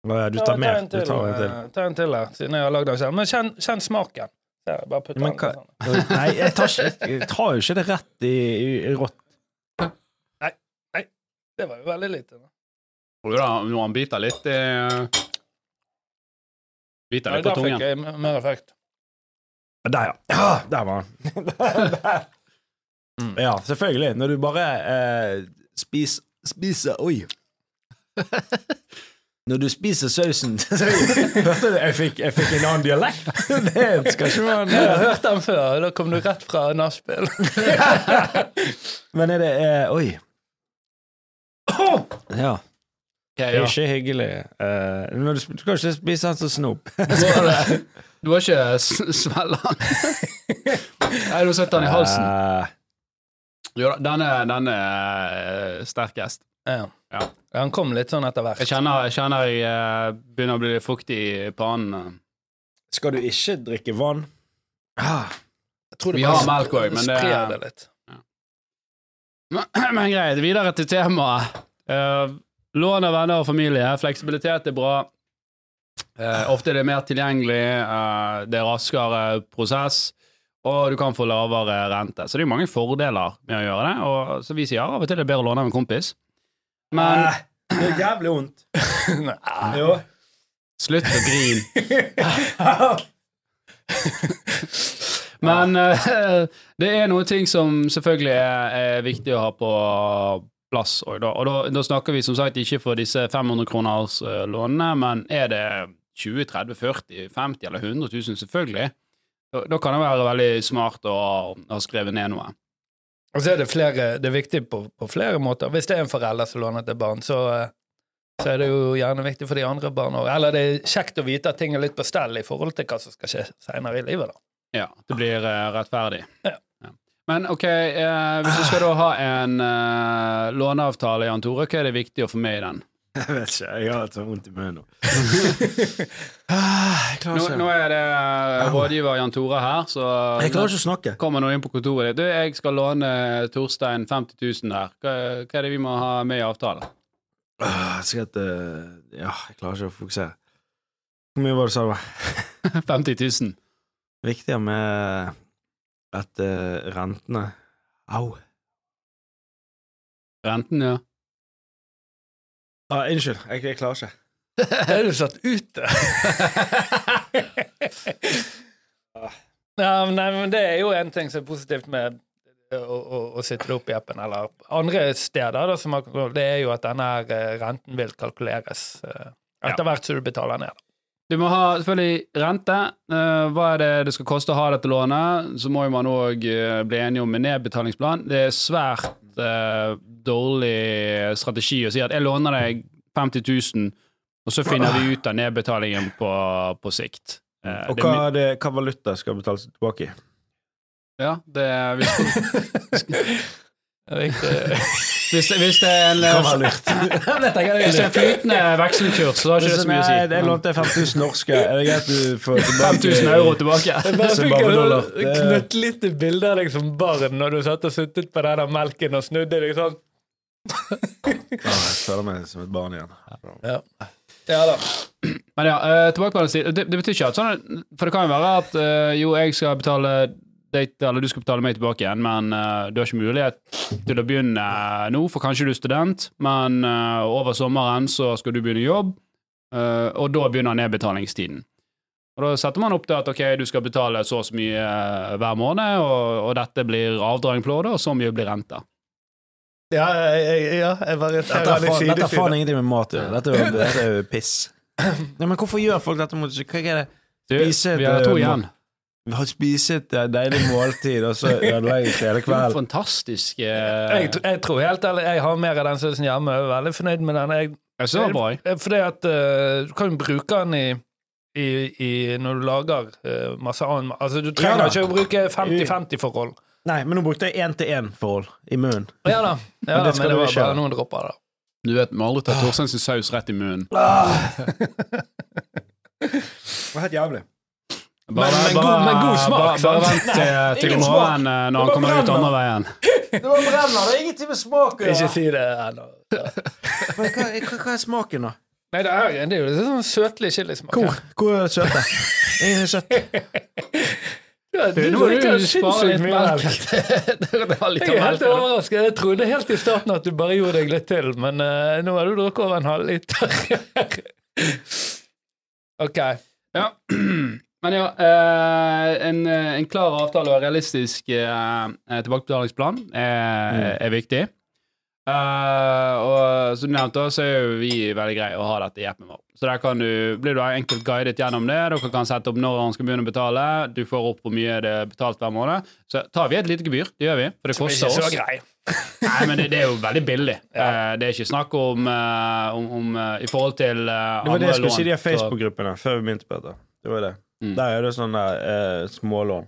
S3: Å, Du
S4: Ja,
S3: tar mer.
S4: en
S3: Du
S4: til,
S3: tar en til.
S4: eh, ta en til her, siden jeg har lagd den selv. Men kjenn, kjenn smaken. Så jeg bare putter
S3: Men
S4: den
S3: hva-
S4: sånn.
S3: Nei, jeg tar, ikke, jeg tar jo ikke det rett i, i, i rått.
S4: Det var jo veldig lite. Da.
S1: Jo da, Når han biter litt eh, Biter
S4: Nei,
S1: litt på
S4: da fikk
S1: tungen.
S4: jeg m- mer effekt.
S3: Der, ja. ja. Der var han.
S4: Mm.
S3: Ja, selvfølgelig. Når du bare eh, spis, spiser Oi. Når du spiser sausen *laughs* Hørte du? Jeg fikk, jeg fikk en annen dialekt! *laughs* Det skal ikke være
S4: Jeg har
S3: en-
S4: hørt den før, og da kom du rett fra nachspiel. *laughs*
S3: Men er det eh, Oi. Ja.
S1: Ok,
S3: Det
S1: ja.
S3: er ikke hyggelig. Eh, når du, sp- du skal ikke spise den som snop.
S1: Du har ikke s- svelget
S4: *laughs*
S1: den? Nei, du har sett den i halsen.
S3: Eh,
S1: Jo da, den er, den er eh, sterkest.
S4: Ja.
S1: Ja.
S4: Han kom litt sånn etter hvert.
S1: Jeg kjenner jeg, kjenner jeg eh, begynner å bli litt fuktig i pannen.
S3: skal du ikke drikke vann? Ah,
S4: Jeg tror det
S1: Vi
S4: bare
S1: har
S4: sp-
S1: melk også, men det-
S4: sprer det litt. *laughs*
S1: *clears throat* Men greit, videre til temaet. Eh, lån av venner og familie. Fleksibilitet er bra. Eh, ofte er det mer tilgjengelig, eh, det er raskere prosess, og du kan få lavere rente. Så det er mange fordeler med å gjøre det. Og så vi sier av og til er det bedre å låne av en kompis. Men
S3: eh, det er jævlig vondt.
S4: Nei.
S3: Jo.
S1: slutt å grine. Men eh, *laughs* det er noen ting som selvfølgelig er, er viktig å ha på plass òg, da. Og da, da snakker vi som sagt ikke for disse 500-kronerslånene, men er det 20 30 40 50 eller 100 000, selvfølgelig, da, da kan det være veldig smart å ha skrevet ned noe.
S4: Og så er det, flere, det er viktig på, på flere måter. Hvis det er en forelder som låner til barn, så, eh, så er det jo gjerne viktig for de andre barna òg. Eller det er kjekt å vite at ting er litt på stell i forhold til hva som skal skje seinere i livet. da.
S1: Ja, det blir eh, rettferdig.
S4: Ja.
S1: Ja. Men ok, eh, hvis du skal da ha en eh, låneavtale, Jan Tore, hva er det viktig å få med i den?
S3: *laughs* Jeg vet ikke, jeg har så vondt i *laughs* munnen nå. Ah, jeg klarer
S1: Nå,
S3: ikke.
S1: nå er det eh, rådgiver Jan Tore her, så
S3: jeg klarer ikke å snakke.
S1: kommer noen inn på kontoret ditt. Du, jeg skal låne Torstein 50 000 her. Hva, hva er det vi må ha med i avtalen? *laughs*
S3: Ah, Jeg skal hete Ja, jeg klarer ikke å fokusere. Hvor mye var det du sa det var?
S1: 50 000.
S3: Viktigere med at eh, rentene Au.
S1: Renten, ja.
S3: Ah, unnskyld, jeg, jeg klarer ikke.
S4: Er du satt ute? ja, men nei, men det er jo en ting som er positivt med å, å, å sitte det opp i appen, eller andre steder, da, som har, det er jo at denne her eh, renten vil kalkuleres eh, etter hvert som du betaler ned.
S1: Du må ha selvfølgelig rente. Eh, hva er det det skal koste å ha dette lånet? Så må jo man òg bli enige om en nedbetalingsplan. Det er svært eh, dårlig strategi å si at jeg låner deg 50 000, og så finner vi ut av nedbetalingen på, på sikt. Eh,
S3: Og
S1: det er
S3: hva,
S1: mi-
S3: er det, hva valuta skal betales *laughs* tilbake i?
S1: Ja, det er hvis,
S4: *laughs* Riktig.
S1: hvis, det, hvis det er en
S3: Hva
S1: eh,
S3: var *laughs* lurt?
S1: Hvis det er en flytende vekselkurs, så har ikke det så mye å si.
S3: Nei, jeg lånte 5000 norske. Er det greit du får *laughs* tilbake
S1: 5000 euro tilbake.
S4: Jeg bare
S3: Så
S4: fikk
S3: bare dollar.
S4: et
S3: Det-
S4: knøttlite bilde av deg som barn når du satt og suttet på den der melken og snudde deg sånn.
S3: Ja, Ah, jeg føler meg som et barn igjen.
S4: Ja da.
S1: Men ja, eh, tilbake på den siden. Det, det betyr ikke at sånn For det kan jo være at eh, jo, jeg skal betale deg, eller du skal betale meg tilbake igjen, men eh, du har ikke mulighet til å begynne eh, nå, for kanskje du er student, men eh, over sommeren så skal du begynne jobb, eh, og da begynner nedbetalingstiden. Og da setter man opp til at ok, du skal betale så og så mye eh, hver måned, og, og dette blir avdrag på det, og så mye blir renta.
S4: Ja, jeg, jeg- ja, jeg bare ser
S3: Dette har
S4: litt
S3: faen, dette har
S4: sidesynet.
S3: faen ingenting med mat å gjøre. Dette, er jo- dette er jo piss. Nei, men hvorfor gjør folk dette mot seg? Hva er det?
S1: Du,
S3: Spise et,
S1: vi har
S3: eh,
S1: to
S3: må-
S1: igjen.
S3: Vi har spist et eh, deilig måltid, og så ødelegges hele
S1: Det er
S3: kvelden.
S1: Fantastisk.
S4: Jeg,
S1: eh,
S4: tr- jeg tror helt ærlig, jeg har mer av den sausen hjemme. Jeg er veldig fornøyd med den. Jeg,
S1: Jeg ser bra. jeg.
S4: Eh, Fordi at eh, du kan jo bruke den i, i, i når du lager eh, masse annen ma- Altså, du trenger
S3: Ja da.
S4: ikke å bruke 50-50-forhold.
S3: Nei, men nå brukte jeg én-til-én-forhold i munnen.
S4: Ja da, ja,
S3: Men det
S4: da, men det var
S3: skal du ikke
S4: bare
S3: gjøre.
S4: noen dropper, da.
S1: Du vet, vi har aldri tatt Torstein sin saus rett i munnen.
S3: Det var helt jævlig.
S1: Bare,
S4: Men- men god- men god smak,
S1: Bare, bare
S4: sant?
S1: vent til, til i morgen eh, når han kommer ut andre veien.
S3: Det var brenner, det er ingenting med smak å
S4: Ikke si det ennå. Ja.
S3: Men hva, hva, hva er smaken, da?
S4: Nei, det er, det er jo litt sånn søtlig chilismak.
S3: Hvor? Hvor er det søte? *laughs* Ingen er søtt.
S4: Ja, du,
S1: Nå
S4: du,
S1: må du spare litt
S4: melk. *laughs*
S1: melk. *laughs* Det var litt
S4: Jeg
S1: av
S4: er helt
S1: melk.
S4: overrasket. Jeg trodde helt i starten at du bare gjorde deg litt til, men eh, nå har du drukket over en *laughs* halvliter. ok.
S1: Ja. *clears throat* Men ja, eh, en, eh, en klar avtale og realistisk eh, eh, tilbakebetalingsplan er,
S3: Mm.
S1: er viktig. Eh, og som du nevnte, så er jo vi veldig greie å ha dette i appen vår. Så der kan du, blir du enkelt guidet gjennom det. Dere kan sette opp når han skal begynne å betale. Du får opp hvor mye det er betalt hver måned. Så tar vi et lite gebyr. Det gjør vi, for det
S4: Ikke
S1: koster
S4: så
S1: oss.
S4: grei.
S1: Nei, men det, det er jo veldig billig. Eh, det er ikke snakk om, eh, om, om eh, I forhold til eh,
S3: Det var det
S1: andre
S3: jeg skulle si, de her
S1: så-
S3: Facebook-gruppene, før vi begynte på dette. Det var det.
S1: Mm.
S3: Der er det sånn der eh, smålån.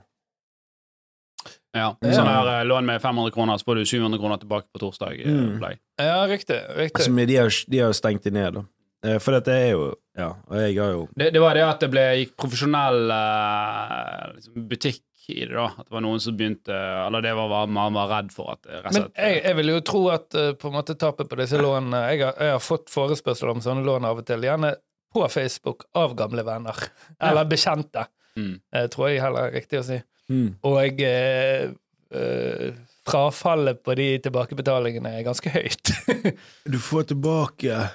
S1: Ja,
S4: Ja.
S1: sånn her eh, lån med 500 kroner, så får du 700 kroner tilbake på torsdag. eh,
S3: Mm.
S1: opplegg.
S4: Ja, riktig. riktig.
S3: Altså, men de har jo de har jo stengt de ned, da. Eh, For dette er jo Ja, og jeg har jo
S1: Det, det var det at det ble, gikk profesjonell eh, liksom butikk i det, da. At det var noen som begynte Eller det var hva man var redd for. At, eh, rett og
S4: Men
S1: slett, eh,
S4: jeg, jeg vil jo tro at eh, på en måte tapet på disse lånene jeg har, jeg har fått forespørsel om sånne lån av og til, gjerne på Facebook av gamle venner. Eller bekjente,
S1: Mm.
S4: eh, tror jeg heller er riktig å si.
S3: Mm.
S4: Og eh, eh, frafallet på de tilbakebetalingene er ganske høyt.
S3: Du får tilbake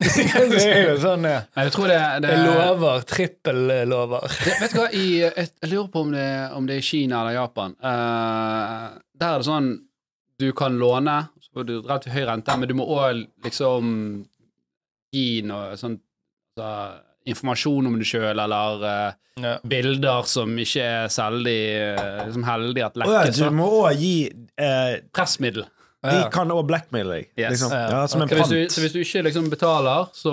S4: *laughs* det er jo sånn, ja.
S1: Men jeg tror det, det
S4: Jeg lover. Trippellover.
S1: Det, Eh, vet du hva, i, jeg, jeg lurer på om det, om det er Kina eller Japan. Eh, der er det sånn du kan låne, så får du relativt høy rente, men du må òg liksom gi noe sånn så, informasjon om deg sjøl, eller eh,
S4: Ja.
S1: bilder som ikke er særlig eh, liksom heldige at
S3: Å ja,
S1: lekkes.
S3: du
S1: da.
S3: må òg gi eh,
S1: Pressmiddel.
S3: De kan òg blackmaile deg.
S1: Yes.
S3: Liksom.
S4: Ja.
S3: Ja, som en
S1: Så hvis, du,
S3: pant.
S1: så hvis du ikke liksom betaler, så,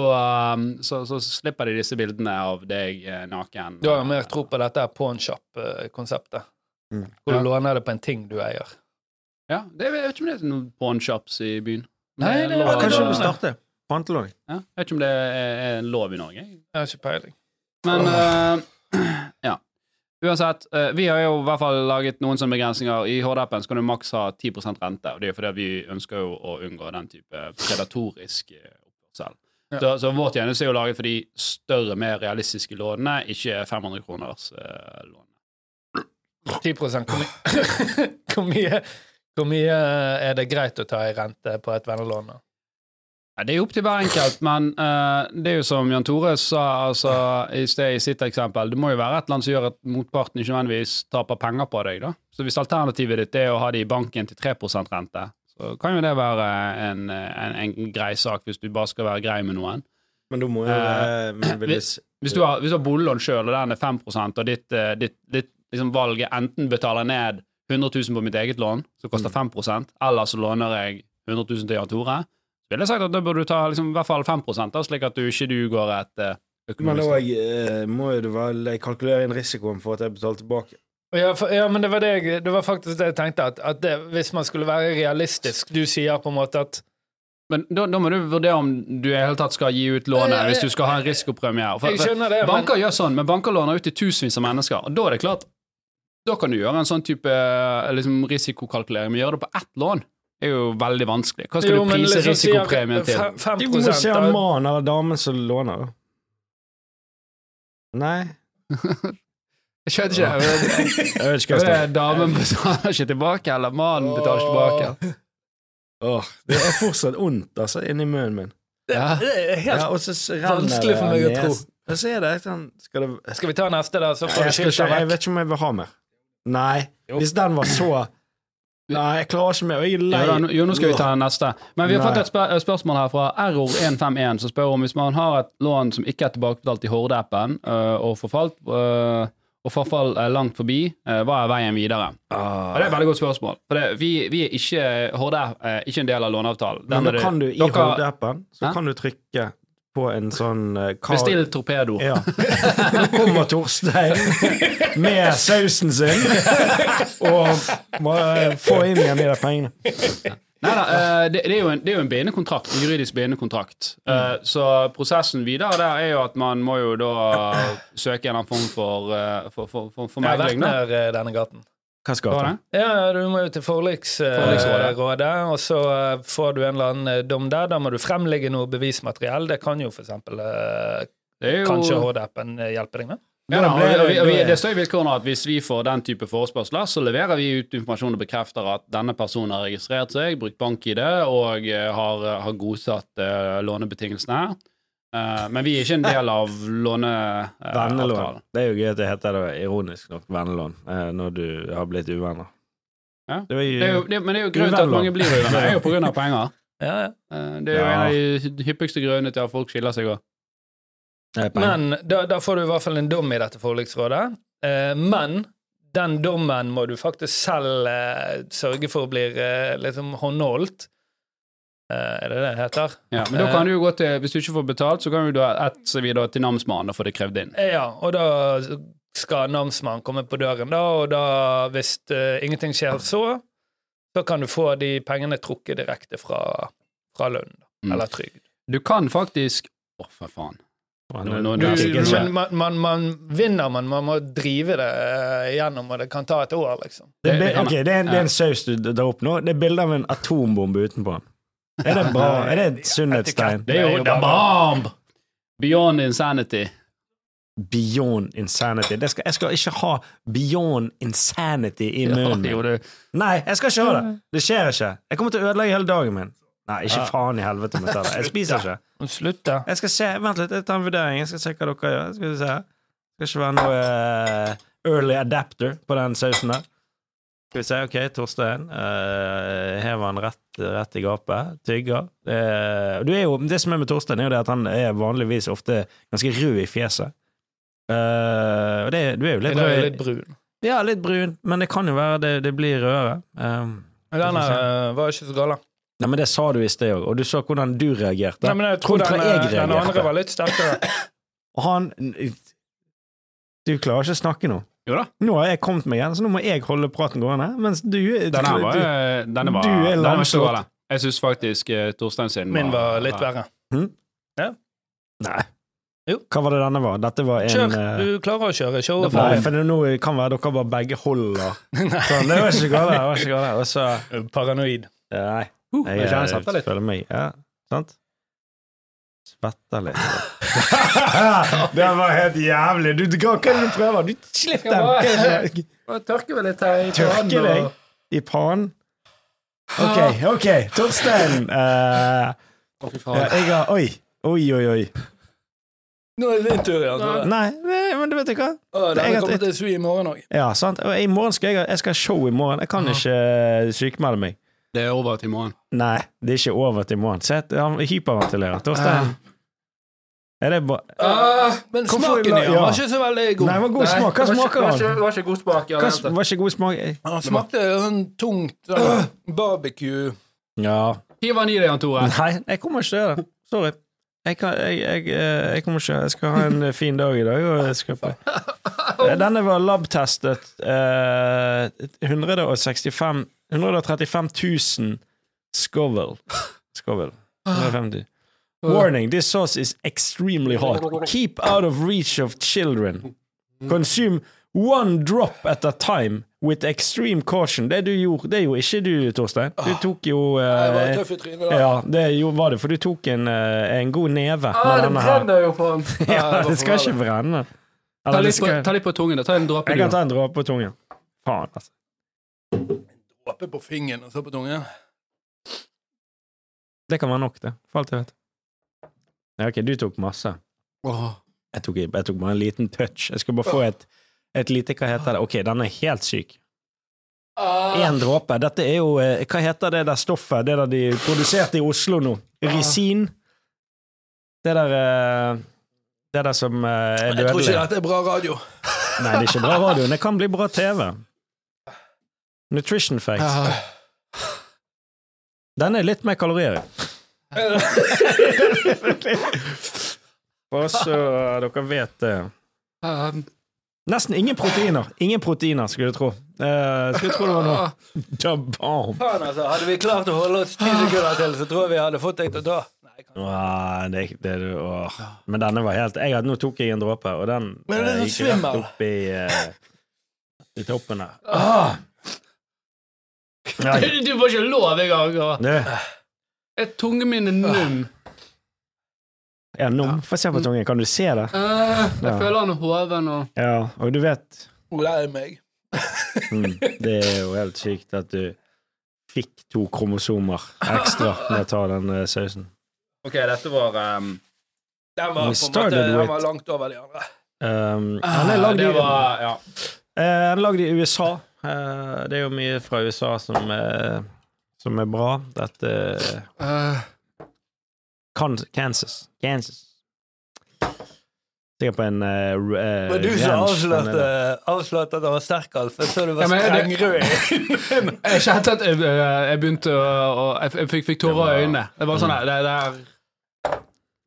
S1: um, så, så slipper de disse bildene av deg eh, naken.
S4: Du har jo mer tro på dette her pawnshop-konseptet.
S3: Mm.
S4: Hvor du låner det på en ting du eier.
S1: Ja, det, jeg vet ikke om det er noen pawnshops i byen.
S4: Nei, det er
S1: lov-
S3: Ja, kanskje du
S4: da-
S3: må starte pantelån.
S1: ja, Jeg vet ikke om det er er en lov i Norge. jeg.
S4: Jeg har ikke peiling.
S1: Men eh, *clears throat* ja. Uansett, eh, vi har jo i hvert fall laget noen sånne begrensninger. I HD-appen så kan du maks ha 10 rente, og det er jo fordi at vi ønsker jo å unngå den type predatorisk eh, oppførsel.
S4: Ja.
S1: Så, så vår tjeneste er jo laget for de større, mer realistiske lånene, ikke 500 kroners eh, lån.
S4: 10 hvor, my hvor, mye, *laughs* hvor mye eh, er det greit å ta i rente på et vennelån? da?
S1: Ja, det er jo opp til hver enkelt, men eh, det er jo som Jan Tore sa altså, i sted i sitt eksempel, det må jo være et eller annet som gjør at motparten ikke nødvendigvis taper penger på deg. da. Så hvis alternativet ditt er å ha det i banken til 3 rente, så kan jo det være en, en, en grei sak hvis du bare skal være grei med noen.
S3: Men du må jo
S1: Eh,
S3: eh, men vil
S1: hvis- Hvis du har, hvis du har boliglån sjøl, og den er 5 og ditt, eh, ditt, ditt liksom valg er enten betaler jeg ned 100 000 på mitt eget lån, som koster 5 eller så låner jeg 100 000 til Jan Tore, så ville jeg sagt at da burde du ta liksom, i hvert fall 5 da, slik at du ikke du går et eh,
S3: Men
S1: økonomisk
S3: òg eh, må jo du vel kalkulere inn risikoen for at jeg betaler tilbake.
S4: Ja, for, ja, men det var, det, jeg, det var faktisk det jeg tenkte. At, at det, hvis man skulle være realistisk Du sier på en måte at
S1: Men da, da må du vurdere om du i det hele tatt skal gi ut
S4: Ja,
S1: lånet,
S4: ja,
S1: hvis du skal ha en risikopremie. For,
S4: Jeg skjønner det, men
S1: Banker gjør sånn, men banker låner ut til tusenvis av mennesker. Og da er det klart, da kan du gjøre en sånn type eh, liksom, risikokalkulering, men gjøre det på ett lån er jo veldig vanskelig. Hva skal
S4: Jo,
S1: du
S4: men
S1: prise
S4: liksom sier
S1: risikopremien til?
S4: fem- fem
S3: Du må se
S4: prosent av-
S3: om mannen eller damen som låner, da. Nei,
S1: Jeg skjønner ikke.
S3: jeg vet
S1: Er
S3: ikke hva jeg
S1: det
S3: står
S1: damen betaler ikke tilbake, eller mannen betaler ikke tilbake?
S3: Åh, Det er fortsatt ondt altså, inni munnen min.
S1: Ja.
S4: Det er helt
S3: Ja, og så s- renner
S4: vanskelig for meg å
S3: det av
S4: tro.
S3: nesen. Og så er det sånn Skal det
S4: Skal vi ta neste, da? Så får
S3: jeg,
S4: du
S3: skal
S4: skilta
S3: ikke, jeg
S4: vekk.
S3: vet ikke om jeg vil ha mer. Nei.
S4: Jo.
S3: Hvis den var så Nei, jeg klarer ikke mer. og Jeg er
S1: Jo,
S3: lei.
S1: da, nå- jo, nå skal vi ta den neste. Men vi har
S3: Nei.
S1: fått et spør et spørsmål her fra Error151, som spør om hvis man har et lån som ikke er tilbakebetalt i Horde-appen, øh, og forfalt, øh, og forfall er langt forbi, øh, hva er veien videre? Ja,
S3: Ah.
S1: det er et veldig godt spørsmål. For det, vi, vi er ikke Horde er eh, ikke en del av låneavtalen. Den
S3: Men
S1: er det-
S3: nå kan du i
S1: dere-
S3: HD-appen Så
S1: Hæ?
S3: kan du trykke på en sånn eh, kar-
S1: Bestill torpedo.
S3: Ja. Nå kommer Torstein med sausen sin og må eh, få inn igjen de der pengene.
S1: Nei da, eh, det, det, er jo en, det er jo en bindende kontrakt, en juridisk bindende kontrakt. Eh,
S3: Mm.
S1: Så prosessen videre der er jo at man må jo da søke en eller annen form for, eh, for, for, for, for
S4: Jeg har vært
S1: megling. da.
S4: nær eh, denne gaten.
S3: Hva skal
S1: Hva
S3: jeg
S1: var
S3: ta?
S1: det?
S4: Ja, du må jo til forliksrådet,
S1: Forliksrådet.
S4: og så eh, får du en eller annen eh, dom der. Da må du fremlegge noe bevismateriell. Det kan jo for eksempel eh,
S1: Det er jo
S4: kanskje HD-appen eh, hjelpe deg med.
S1: Ja, da, og,
S3: Da ble
S1: og, vi- og vi,
S3: det-
S1: det står i vilkårene at hvis vi får den type forespørsler, så leverer vi ut informasjon og bekrefter at denne personen har registrert seg, brukt bank-ID og eh, har, har godtatt eh, lånebetingelsene. Eh, men vi er ikke en del av eh, låneavtalen.
S3: Vennelån. Det er jo gøy at det heter det ironisk nok vennelån eh, når du har blitt uvenner.
S1: Ja.
S3: Det var
S1: det er jo, det, men det er jo grunnen til at
S3: Uvenner.
S1: mange blir uvenner. Det er jo på grunn av
S3: *laughs*
S1: penger.
S4: Ja, ja.
S1: Eh, det er jo
S3: Ja.
S1: en av de hyppigste grunnene til at folk skiller seg òg.
S3: Eh, penger.
S4: Men da, da får du i hvert fall en dom i dette forliksrådet. Eh, men den dommen må du faktisk selv eh, sørge for blir eh, liksom håndholdt. Eh, er det det det heter?
S1: Ja, men
S3: Eh.
S1: da kan du jo gå til, hvis du ikke får betalt, så kan du da etse vi da til namsmannen og få det krevd inn.
S4: Eh, ja, og da skal namsmannen komme på døren, da, og da, hvis eh, ingenting skjer så, så kan du få de pengene trukket direkte fra, fra lønn, da,
S1: Mm.
S4: eller trygd.
S1: Du kan faktisk Å, for faen. Nå-
S3: Å, nå-
S1: nå-
S3: nå-
S1: nå-
S3: nå-
S1: Nei,
S4: Du,
S1: ikke
S4: men man, man, man vinner, men man må drive det eh, gjennom, og det kan ta et år, liksom.
S3: Det er,
S1: Det- det
S3: bi-
S1: kan
S3: ok, det er, en, det er en saus du tar opp nå. Det er bilde av en atombombe utenpå den. Er det bra? Er det et sunnhetstegn?
S1: Det er jo The Bomb! Beyond Insanity.
S3: Beyond insanity. Det skal, jeg skal ikke ha beyond insanity i munnen
S1: Jo,
S3: min.
S1: det-
S3: Nei, jeg skal ikke ha det! Det skjer ikke. Jeg kommer til å ødelegge hele dagen min. Nei, ikke faen i helvete med det. Jeg spiser ikke.
S4: Og slutte.
S3: Jeg skal se, Vent litt, jeg tar en vurdering. Jeg skal se hva dere gjør. Skal vi se her. Skal ikke være noe eh, early adapter på den sausen der. Skal vi se, OK, Torstein. eh, hever han rett, rett i gapet. Tygger. Eh, du er jo, det som er med Torstein, er jo det at han er vanligvis ofte ganske rød i fjeset. Eh, og det, du er jo
S4: I
S3: litt,
S4: dag er
S3: rød
S4: jeg
S3: i-
S4: litt brun.
S3: Ja, litt brun, men det kan jo være det, det blir rødere. Eh,
S4: Men Den her eh, var ikke så gal, da.
S3: nei, men det sa du i sted òg, og du så hvordan du reagerte.
S4: Nei, men jeg tror
S3: Kontra
S4: den,
S3: jeg
S4: eh, den
S3: reagerte.
S4: andre var litt sterkere.
S3: Og han Du klarer ikke å snakke nå.
S1: Jo da.
S3: Nå har jeg kommet meg igjen, så nå må jeg holde praten gående. Mens du
S1: Denne her var, eh,
S3: du,
S1: denne var,
S3: du er
S1: denne var
S3: lamslått.
S1: ikke gal. Jeg syns faktisk eh, Torstein sin
S4: Min var litt verre.
S3: Nei.
S4: Jo.
S3: Hva var det denne var? Dette var en
S4: Kjør!
S3: eh,
S4: Du klarer å kjøre. Kjør
S1: Da
S4: over.
S3: Nei, for det, nå kan være dere bare begge
S1: *laughs*
S3: holder. Sånn, det var ikke galt, det var ikke galt. Og så
S4: Paranoid.
S3: Nei. eh,
S1: Uh, jeg kjenner svetter litt.
S3: føler meg Ja, sant? Svetter
S1: *laughs*
S3: litt. *laughs* det var helt jævlig. Du, hva er det du prøver? Du, slipp den! Hva er det du-
S2: Tørker vel litt her i
S3: Tørke deg i pannen? Ok, ok, *laughs* Torstein. eh, ja, jeg har Oi, oi, oi. oi.
S4: Nå er det din tur igjen. tror jeg.
S3: Nei, nei, men du vet ikke hva.
S4: Å,
S3: Jeg
S4: Denne
S3: har-
S4: kommer til å svi i morgen òg.
S3: Ja, sant. Og i morgen skal jeg, ha- jeg skal ha show i morgen. Jeg kan ikke eh, sykemelde meg.
S1: Det er over til i morgen.
S3: Nei, det er ikke over til i morgen. Se, han hyperventilerer. Torstein. Er det ba...
S4: Ah, Men
S3: Hvorfor
S4: smaken
S3: la-
S4: i den
S3: ja.
S4: var ikke så veldig god.
S3: Nei, det var god smak. Hva smaker han?
S2: Det var ikke god smak.
S3: Hva s- var ikke god smak eh,
S4: Han smakte sånn tungt
S3: Ah.
S4: sånn, barbecue.
S3: Ja.
S1: Hiv han i deg, Jan Tore.
S3: *laughs* Nei, jeg kommer ikke til å gjøre det. Sorry. Jeg, kan, jeg, jeg, eh, jeg kommer ikke Jeg skal ha en eh, fin dag i dag. Og jeg skal på. Eh, Denne var labtestet eh, 165 135 000 scovel. Scovel. 150. Warning, this sauce is extremely hot. Keep out of reach of children. Consume one drop at a time with extreme caution. Det du gjorde, det gjorde ikke du, Torstein. Du tok jo
S4: Jeg var
S3: eh,
S4: tøff i trynet da.
S3: ja, det jo, var det, for du tok en, eh, en god neve med
S2: Det
S3: denne her.
S2: brenner jo på den.
S3: *laughs* Ja,
S4: det var
S3: det skal
S4: for
S3: ikke brenne.
S1: Ta
S3: Eller, det
S1: litt på,
S3: skal,
S1: ta litt på tungen. da. Ta en dråpe,
S3: jeg
S1: du.
S3: kan ta en dråpe på tungen. Faen, altså.
S4: Oppe på fingeren og så på tungen.
S3: Det kan være nok, det. For alt jeg vet. Ja, ok, du tok masse.
S1: Åh.
S3: Jeg tok, jeg tok bare en liten touch. Jeg skal bare få et, et lite Hva heter det? Ok, den er helt syk.
S5: Ah.
S3: Én dråpe. Dette er jo eh, Hva heter det der stoffet? Det der de produserte i Oslo nå? Risin? Det der eh, Det der som eh, er
S4: Jeg tror
S3: dødelig.
S4: ikke dette er bra radio.
S3: Nei, det er ikke bra radio. men Det kan bli bra TV. Nutrition facts.
S1: Ja.
S3: Den er litt mer *laughs* kalorier i. Bare så eh, dere vet det.
S5: Ah.
S1: Um,
S3: Nesten ingen proteiner. Ingen proteiner, skulle du tro. Eh, skulle tro det var noe *laughs* Da bam.
S4: Faen, altså. Hadde vi klart å holde oss ti
S5: Ah.
S4: sekunder til, så tror jeg vi hadde fått deg til å ta. Nei, kanskje.
S3: Nei, Ah, det, det, åh. Men denne var helt jeg, hadde- Nå tok jeg en dråpe, og den
S4: Men det er
S3: eh,
S4: så
S3: gikk rett
S4: svimmel.
S3: opp i, eh, i toppen der. Ah! Nei,
S1: Du får ikke lov engang!
S3: du.
S1: Tungen min er num.
S3: Ja, nå Få se på tungen. Kan du se det?
S1: Eh, jeg
S3: Ja.
S1: føler han er hoven og
S3: Ja, og du vet
S4: Å, det er meg.
S3: Mm. Det er jo helt sykt at du fikk to kromosomer ekstra med å ta den eh, sausen.
S1: Ok, dette var um,
S4: Den var, på
S3: We
S4: en måte,
S3: started
S4: den
S3: with-
S4: var langt over de andre. Ah,
S3: Um, han er lagd i,
S1: Det var ja.
S3: eh, han er lagd i USA. Eh, det er jo mye fra USA som, eh, som er bra. Dette er
S1: eh.
S3: kan Kansas. Kansas. Sikkert på en eh, r- eh,
S4: Men du som
S3: ranch,
S4: avslørte,
S3: men, eh,
S4: avslørte at han var sterk, Alf. Jeg så du
S1: Ja,
S4: var
S1: men det-
S4: strengrød.
S5: *laughs*
S1: Jeg kjente at jeg, eh, jeg begynte å å- Jeg, jeg fikk, fikk tårer i øynene. Det var sånn her, Det der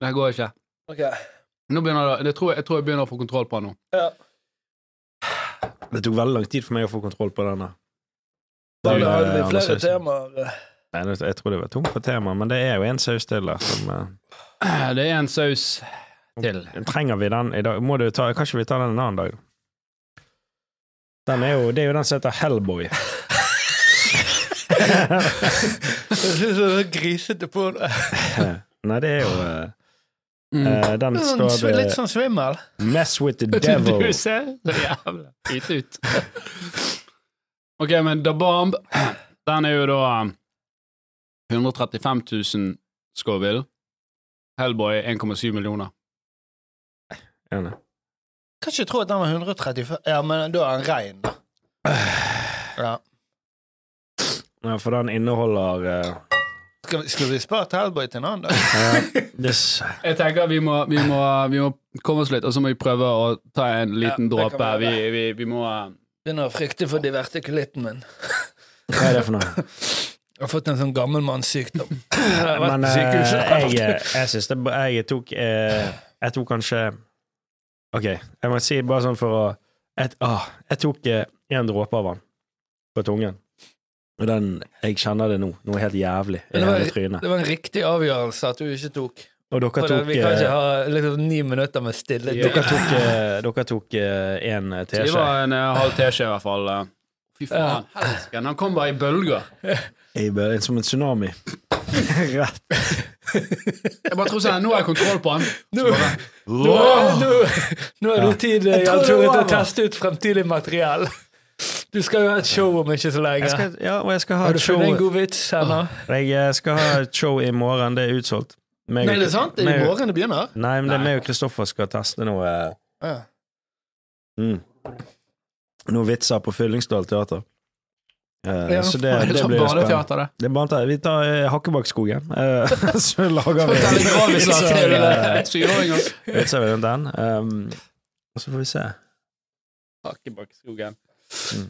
S1: Det her går ikke.
S4: Ok.
S1: Nå begynner det, det tror jeg, jeg tror jeg begynner å få kontroll på den nå. *clears throat*
S4: Ja.
S3: Det tok veldig lang tid for meg å få kontroll på denne.
S4: Da
S3: Den,
S4: hadde vi
S3: eh, andre
S4: flere
S3: sausen.
S4: temaer. eh, *laughs*
S3: Nei, det- jeg tror det var tungt for tema, men det er jo en saus til der som eh,
S1: Det er en saus til.
S3: Trenger vi den i dag? Må du ta, kan ikke vi ta den en annen dag? Den er jo, det er jo den som heter Hellboy.
S4: Jeg synes det var grisete på det.
S3: Nei, det er jo eh,
S1: Mm.
S3: eh, Den står det
S4: Litt sånn svimmel.
S3: Mess with the devil.
S1: *laughs* Du ser så jævla hvit ut. *laughs* Ok, men Da Bomb, den er jo da um, 135 000 Scoville. Hellboy 1,7 millioner.
S3: Enig.
S5: Kan ikke tro at den var 135 Ja, men da er han rein,
S3: *sighs*
S5: da. Ja.
S3: Ja, for den inneholder
S1: *laughs*
S3: eh,
S5: Skal vi, skulle vi spart Hellboy til en annen dag?
S3: eh, this-
S1: Jeg tenker vi må, vi må, vi må komme oss litt, og så må vi prøve å ta en liten
S4: Ja, det
S1: dråpe.
S4: kan være
S1: Vi,
S4: det.
S1: vi, vi må eh,
S4: Begynner å frykte for divertikulitten min.
S3: Hva er det for noe?
S4: Jeg har fått en sånn
S3: *laughs*
S4: gammelmannssykdom. Jeg har vært
S3: Men
S4: på sykehuset.
S3: eh, jeg, jeg syns det Jeg tok eh, Jeg tok kanskje Ok, jeg må si bare sånn for å Jeg, ah, jeg tok eh, en dråpe av den på tungen. Og den Jeg kjenner det nå. Noe helt jævlig i
S4: Men det var-
S3: hele trynet.
S4: Det var en riktig avgjørelse at du ikke tok.
S3: Og dere
S4: For det-
S3: tok
S4: vi kan
S3: eh,
S4: ikke ha liksom, ni minutter med stille.
S1: Ja.
S3: Dere tok, eh, dere tok eh, en eh,
S1: Det
S3: teskje
S1: var en eh, halv teskje, i hvert fall. eh. Fy faen, helsken. Han kom bare i bølger.
S3: Jeg ble- som
S4: *laughs*
S3: en tsunami. Rett.
S1: Jeg bare tror sånn, nå har jeg kontroll på han.
S4: Nå, nå, nå, nå er det tid eh, Jan Tore, til å teste ut fremtidig materiell. Du skal jo ha et show om ikke så lenge.
S3: Jeg skal, ja, og jeg skal ha
S4: Har
S3: et
S4: du
S3: show
S4: funnet en god vits ennå?
S3: Jeg eh, skal ha et show i morgen. Det er utsolgt. Meg og-
S5: Nei, det er sant? Det er
S3: meg
S5: i
S3: og-
S5: morgen det begynner?
S3: Nei, men det er meg og Kristoffer skal teste noe eh,
S5: Ja.
S3: Mm. Noen vitser på Fyllingsdal teater. Eh,
S1: Ja,
S3: så
S1: *laughs*
S3: det,
S1: faen,
S3: det,
S1: sånn
S3: blir jo spennende.
S1: badeteater, det.
S3: Det er bare annet. Vi tar eh, Hakkebakkskogen, eh, *laughs* så lager vi
S1: Telegrafisk
S3: så, eh,
S1: lag. Syvåringer.
S3: vitser vi rundt den. Um, og så får vi se. *laughs*
S1: Hakkebakkeskogen.
S3: Mm.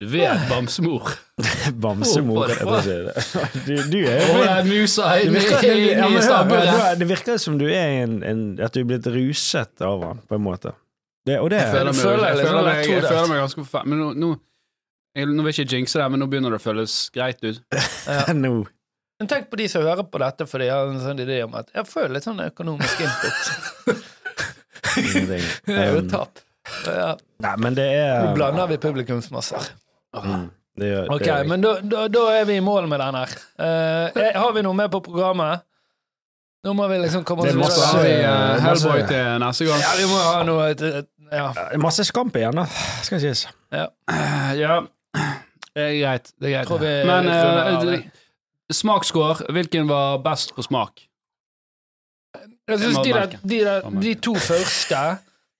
S1: Du vet bamsemor. Håper
S3: Bamsemor.
S1: det
S3: jeg
S1: på.
S3: får si det. *laughs* Du, du er jo
S1: *laughs* Og det er musa
S3: det
S1: inni
S3: virker, ja,
S1: inni
S3: men hør, du
S1: stabburet.
S3: er- det virker som du er en, en, at du er blitt ruset av han, på en måte. Det, og det
S1: Jeg føler meg, jeg
S4: føler-
S1: føler
S4: jeg
S1: meg,
S4: føler meg
S1: jeg
S4: todelt.
S1: føler meg ganske forferdelig. Men nå, nå, jeg, nå vil jeg ikke jinxe det, men nå begynner det å føles greit ut.
S3: er *laughs* nå
S4: Men tenk på de som hører på dette, for de har en sånn idé om at jeg får litt sånn økonomisk
S3: *laughs*
S4: input.
S1: *laughs*
S3: ingenting.
S4: Det er jo
S3: Um,
S4: et tap. Ja,
S3: Nei, men det
S4: nå
S3: er
S4: blander vi publikumsmasser.
S3: Mm, det gjør,
S4: Eh, Ok,
S3: det gjør jeg.
S4: men da, da, da er vi i mål med den her. Eh, eh, har vi noe med på programmet? Nå må vi liksom komme
S3: Det
S4: oss
S3: er
S1: Så
S3: masse-
S1: har vi eh,
S3: masse-
S1: Hellboy til neste gang.
S4: Ja, vi må ha noe et, et, Ja.
S3: Ja, Masse skamp igjen, da, skal sies.
S1: Ja, det er greit. Det er greit.
S4: Tror vi
S1: Men
S4: runder av
S1: eh,
S4: det.
S1: smaksscore, hvilken var best på smak?
S4: Jeg synes de, der, de, der,
S1: Avmerke.
S4: de to første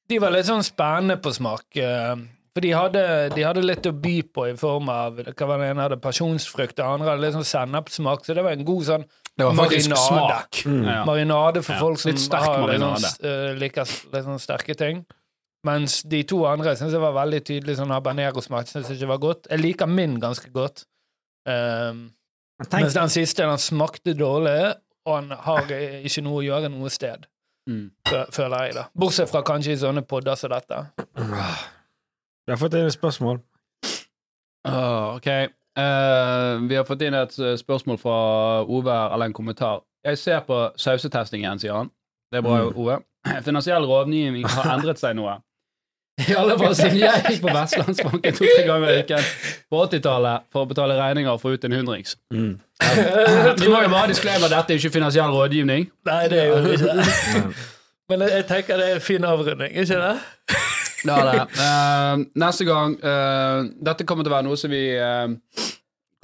S4: De var litt sånn spennende på smak. eh, For de hadde, de hadde litt å by på i form av Hva var det ene hadde pasjonsfrukt, det andre hadde litt sånn sennepssmak, så det var en god sånn
S1: Det var faktisk
S4: Marinade.
S1: smak.
S3: Mm.
S1: Ja.
S4: marinade for
S1: Ja,
S4: folk som
S1: litt sterk
S4: har litt sånn,
S1: marinade.
S4: eh, liker s- litt sånn sterke ting. Mens de to andre syns jeg var veldig tydelig sånn habanero-smak. Syns jeg ikke var godt. Jeg liker min ganske godt. Um,
S3: Tenk,
S4: mens den siste, den smakte dårlig, og han har eh, ikke noe å gjøre noe sted.
S1: Mm.
S4: fø- Føler jeg, da. Bortsett fra kanskje i sånne podder som dette.
S3: jeg har fått inn et spørsmål.
S1: Åh, Ah, ok. Eh, vi har fått inn et eh, spørsmål fra Ove, eller en kommentar. Jeg ser på sausetestingen, sier han. Det er bra,
S3: Mm.
S1: Ove. *clears throat* Finansiell rådgivning har endret seg noe. *laughs* I alle fall siden jeg gikk på Vestlandsbanken *laughs* to-tre ganger i uken på 80-tallet for å betale regninger og få ut en hundrings.
S3: Mm.
S4: Eh,
S1: Vi må jo bare disklemme at dette er ikke finansiell rådgivning.
S4: Nei, det er jo ikke det.
S3: Men,
S4: *laughs* Men jeg- jeg tenker det er en fin avrunding, ikke det?
S1: Ja, det. Eh, neste gang eh, Dette kommer til å være noe som vi eh,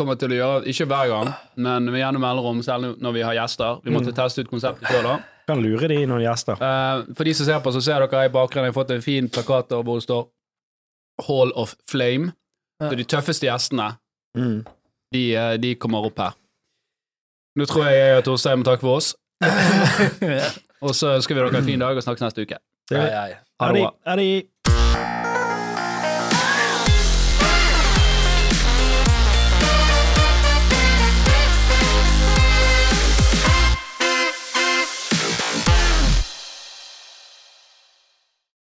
S1: kommer til å gjøre, ikke hver gang, men gjennom mellomrom, selv når vi har gjester. Vi måtte teste ut konseptet før da.
S3: kan lure de noen gjester.
S1: Eh, for de som ser på, så ser dere i bakgrunnen jeg har fått en fin plakat der hvor det står Hall of Flame. Så de tøffeste gjestene,
S3: Mm.
S1: de, eh, de kommer opp her. Nå tror jeg jeg og Torstein må takke for oss,
S4: *laughs* Ja,
S1: og så ønsker vi dere en fin dag og snakkes neste uke.
S3: Det,
S4: ja, ja.
S1: Ha det bra.
S3: er de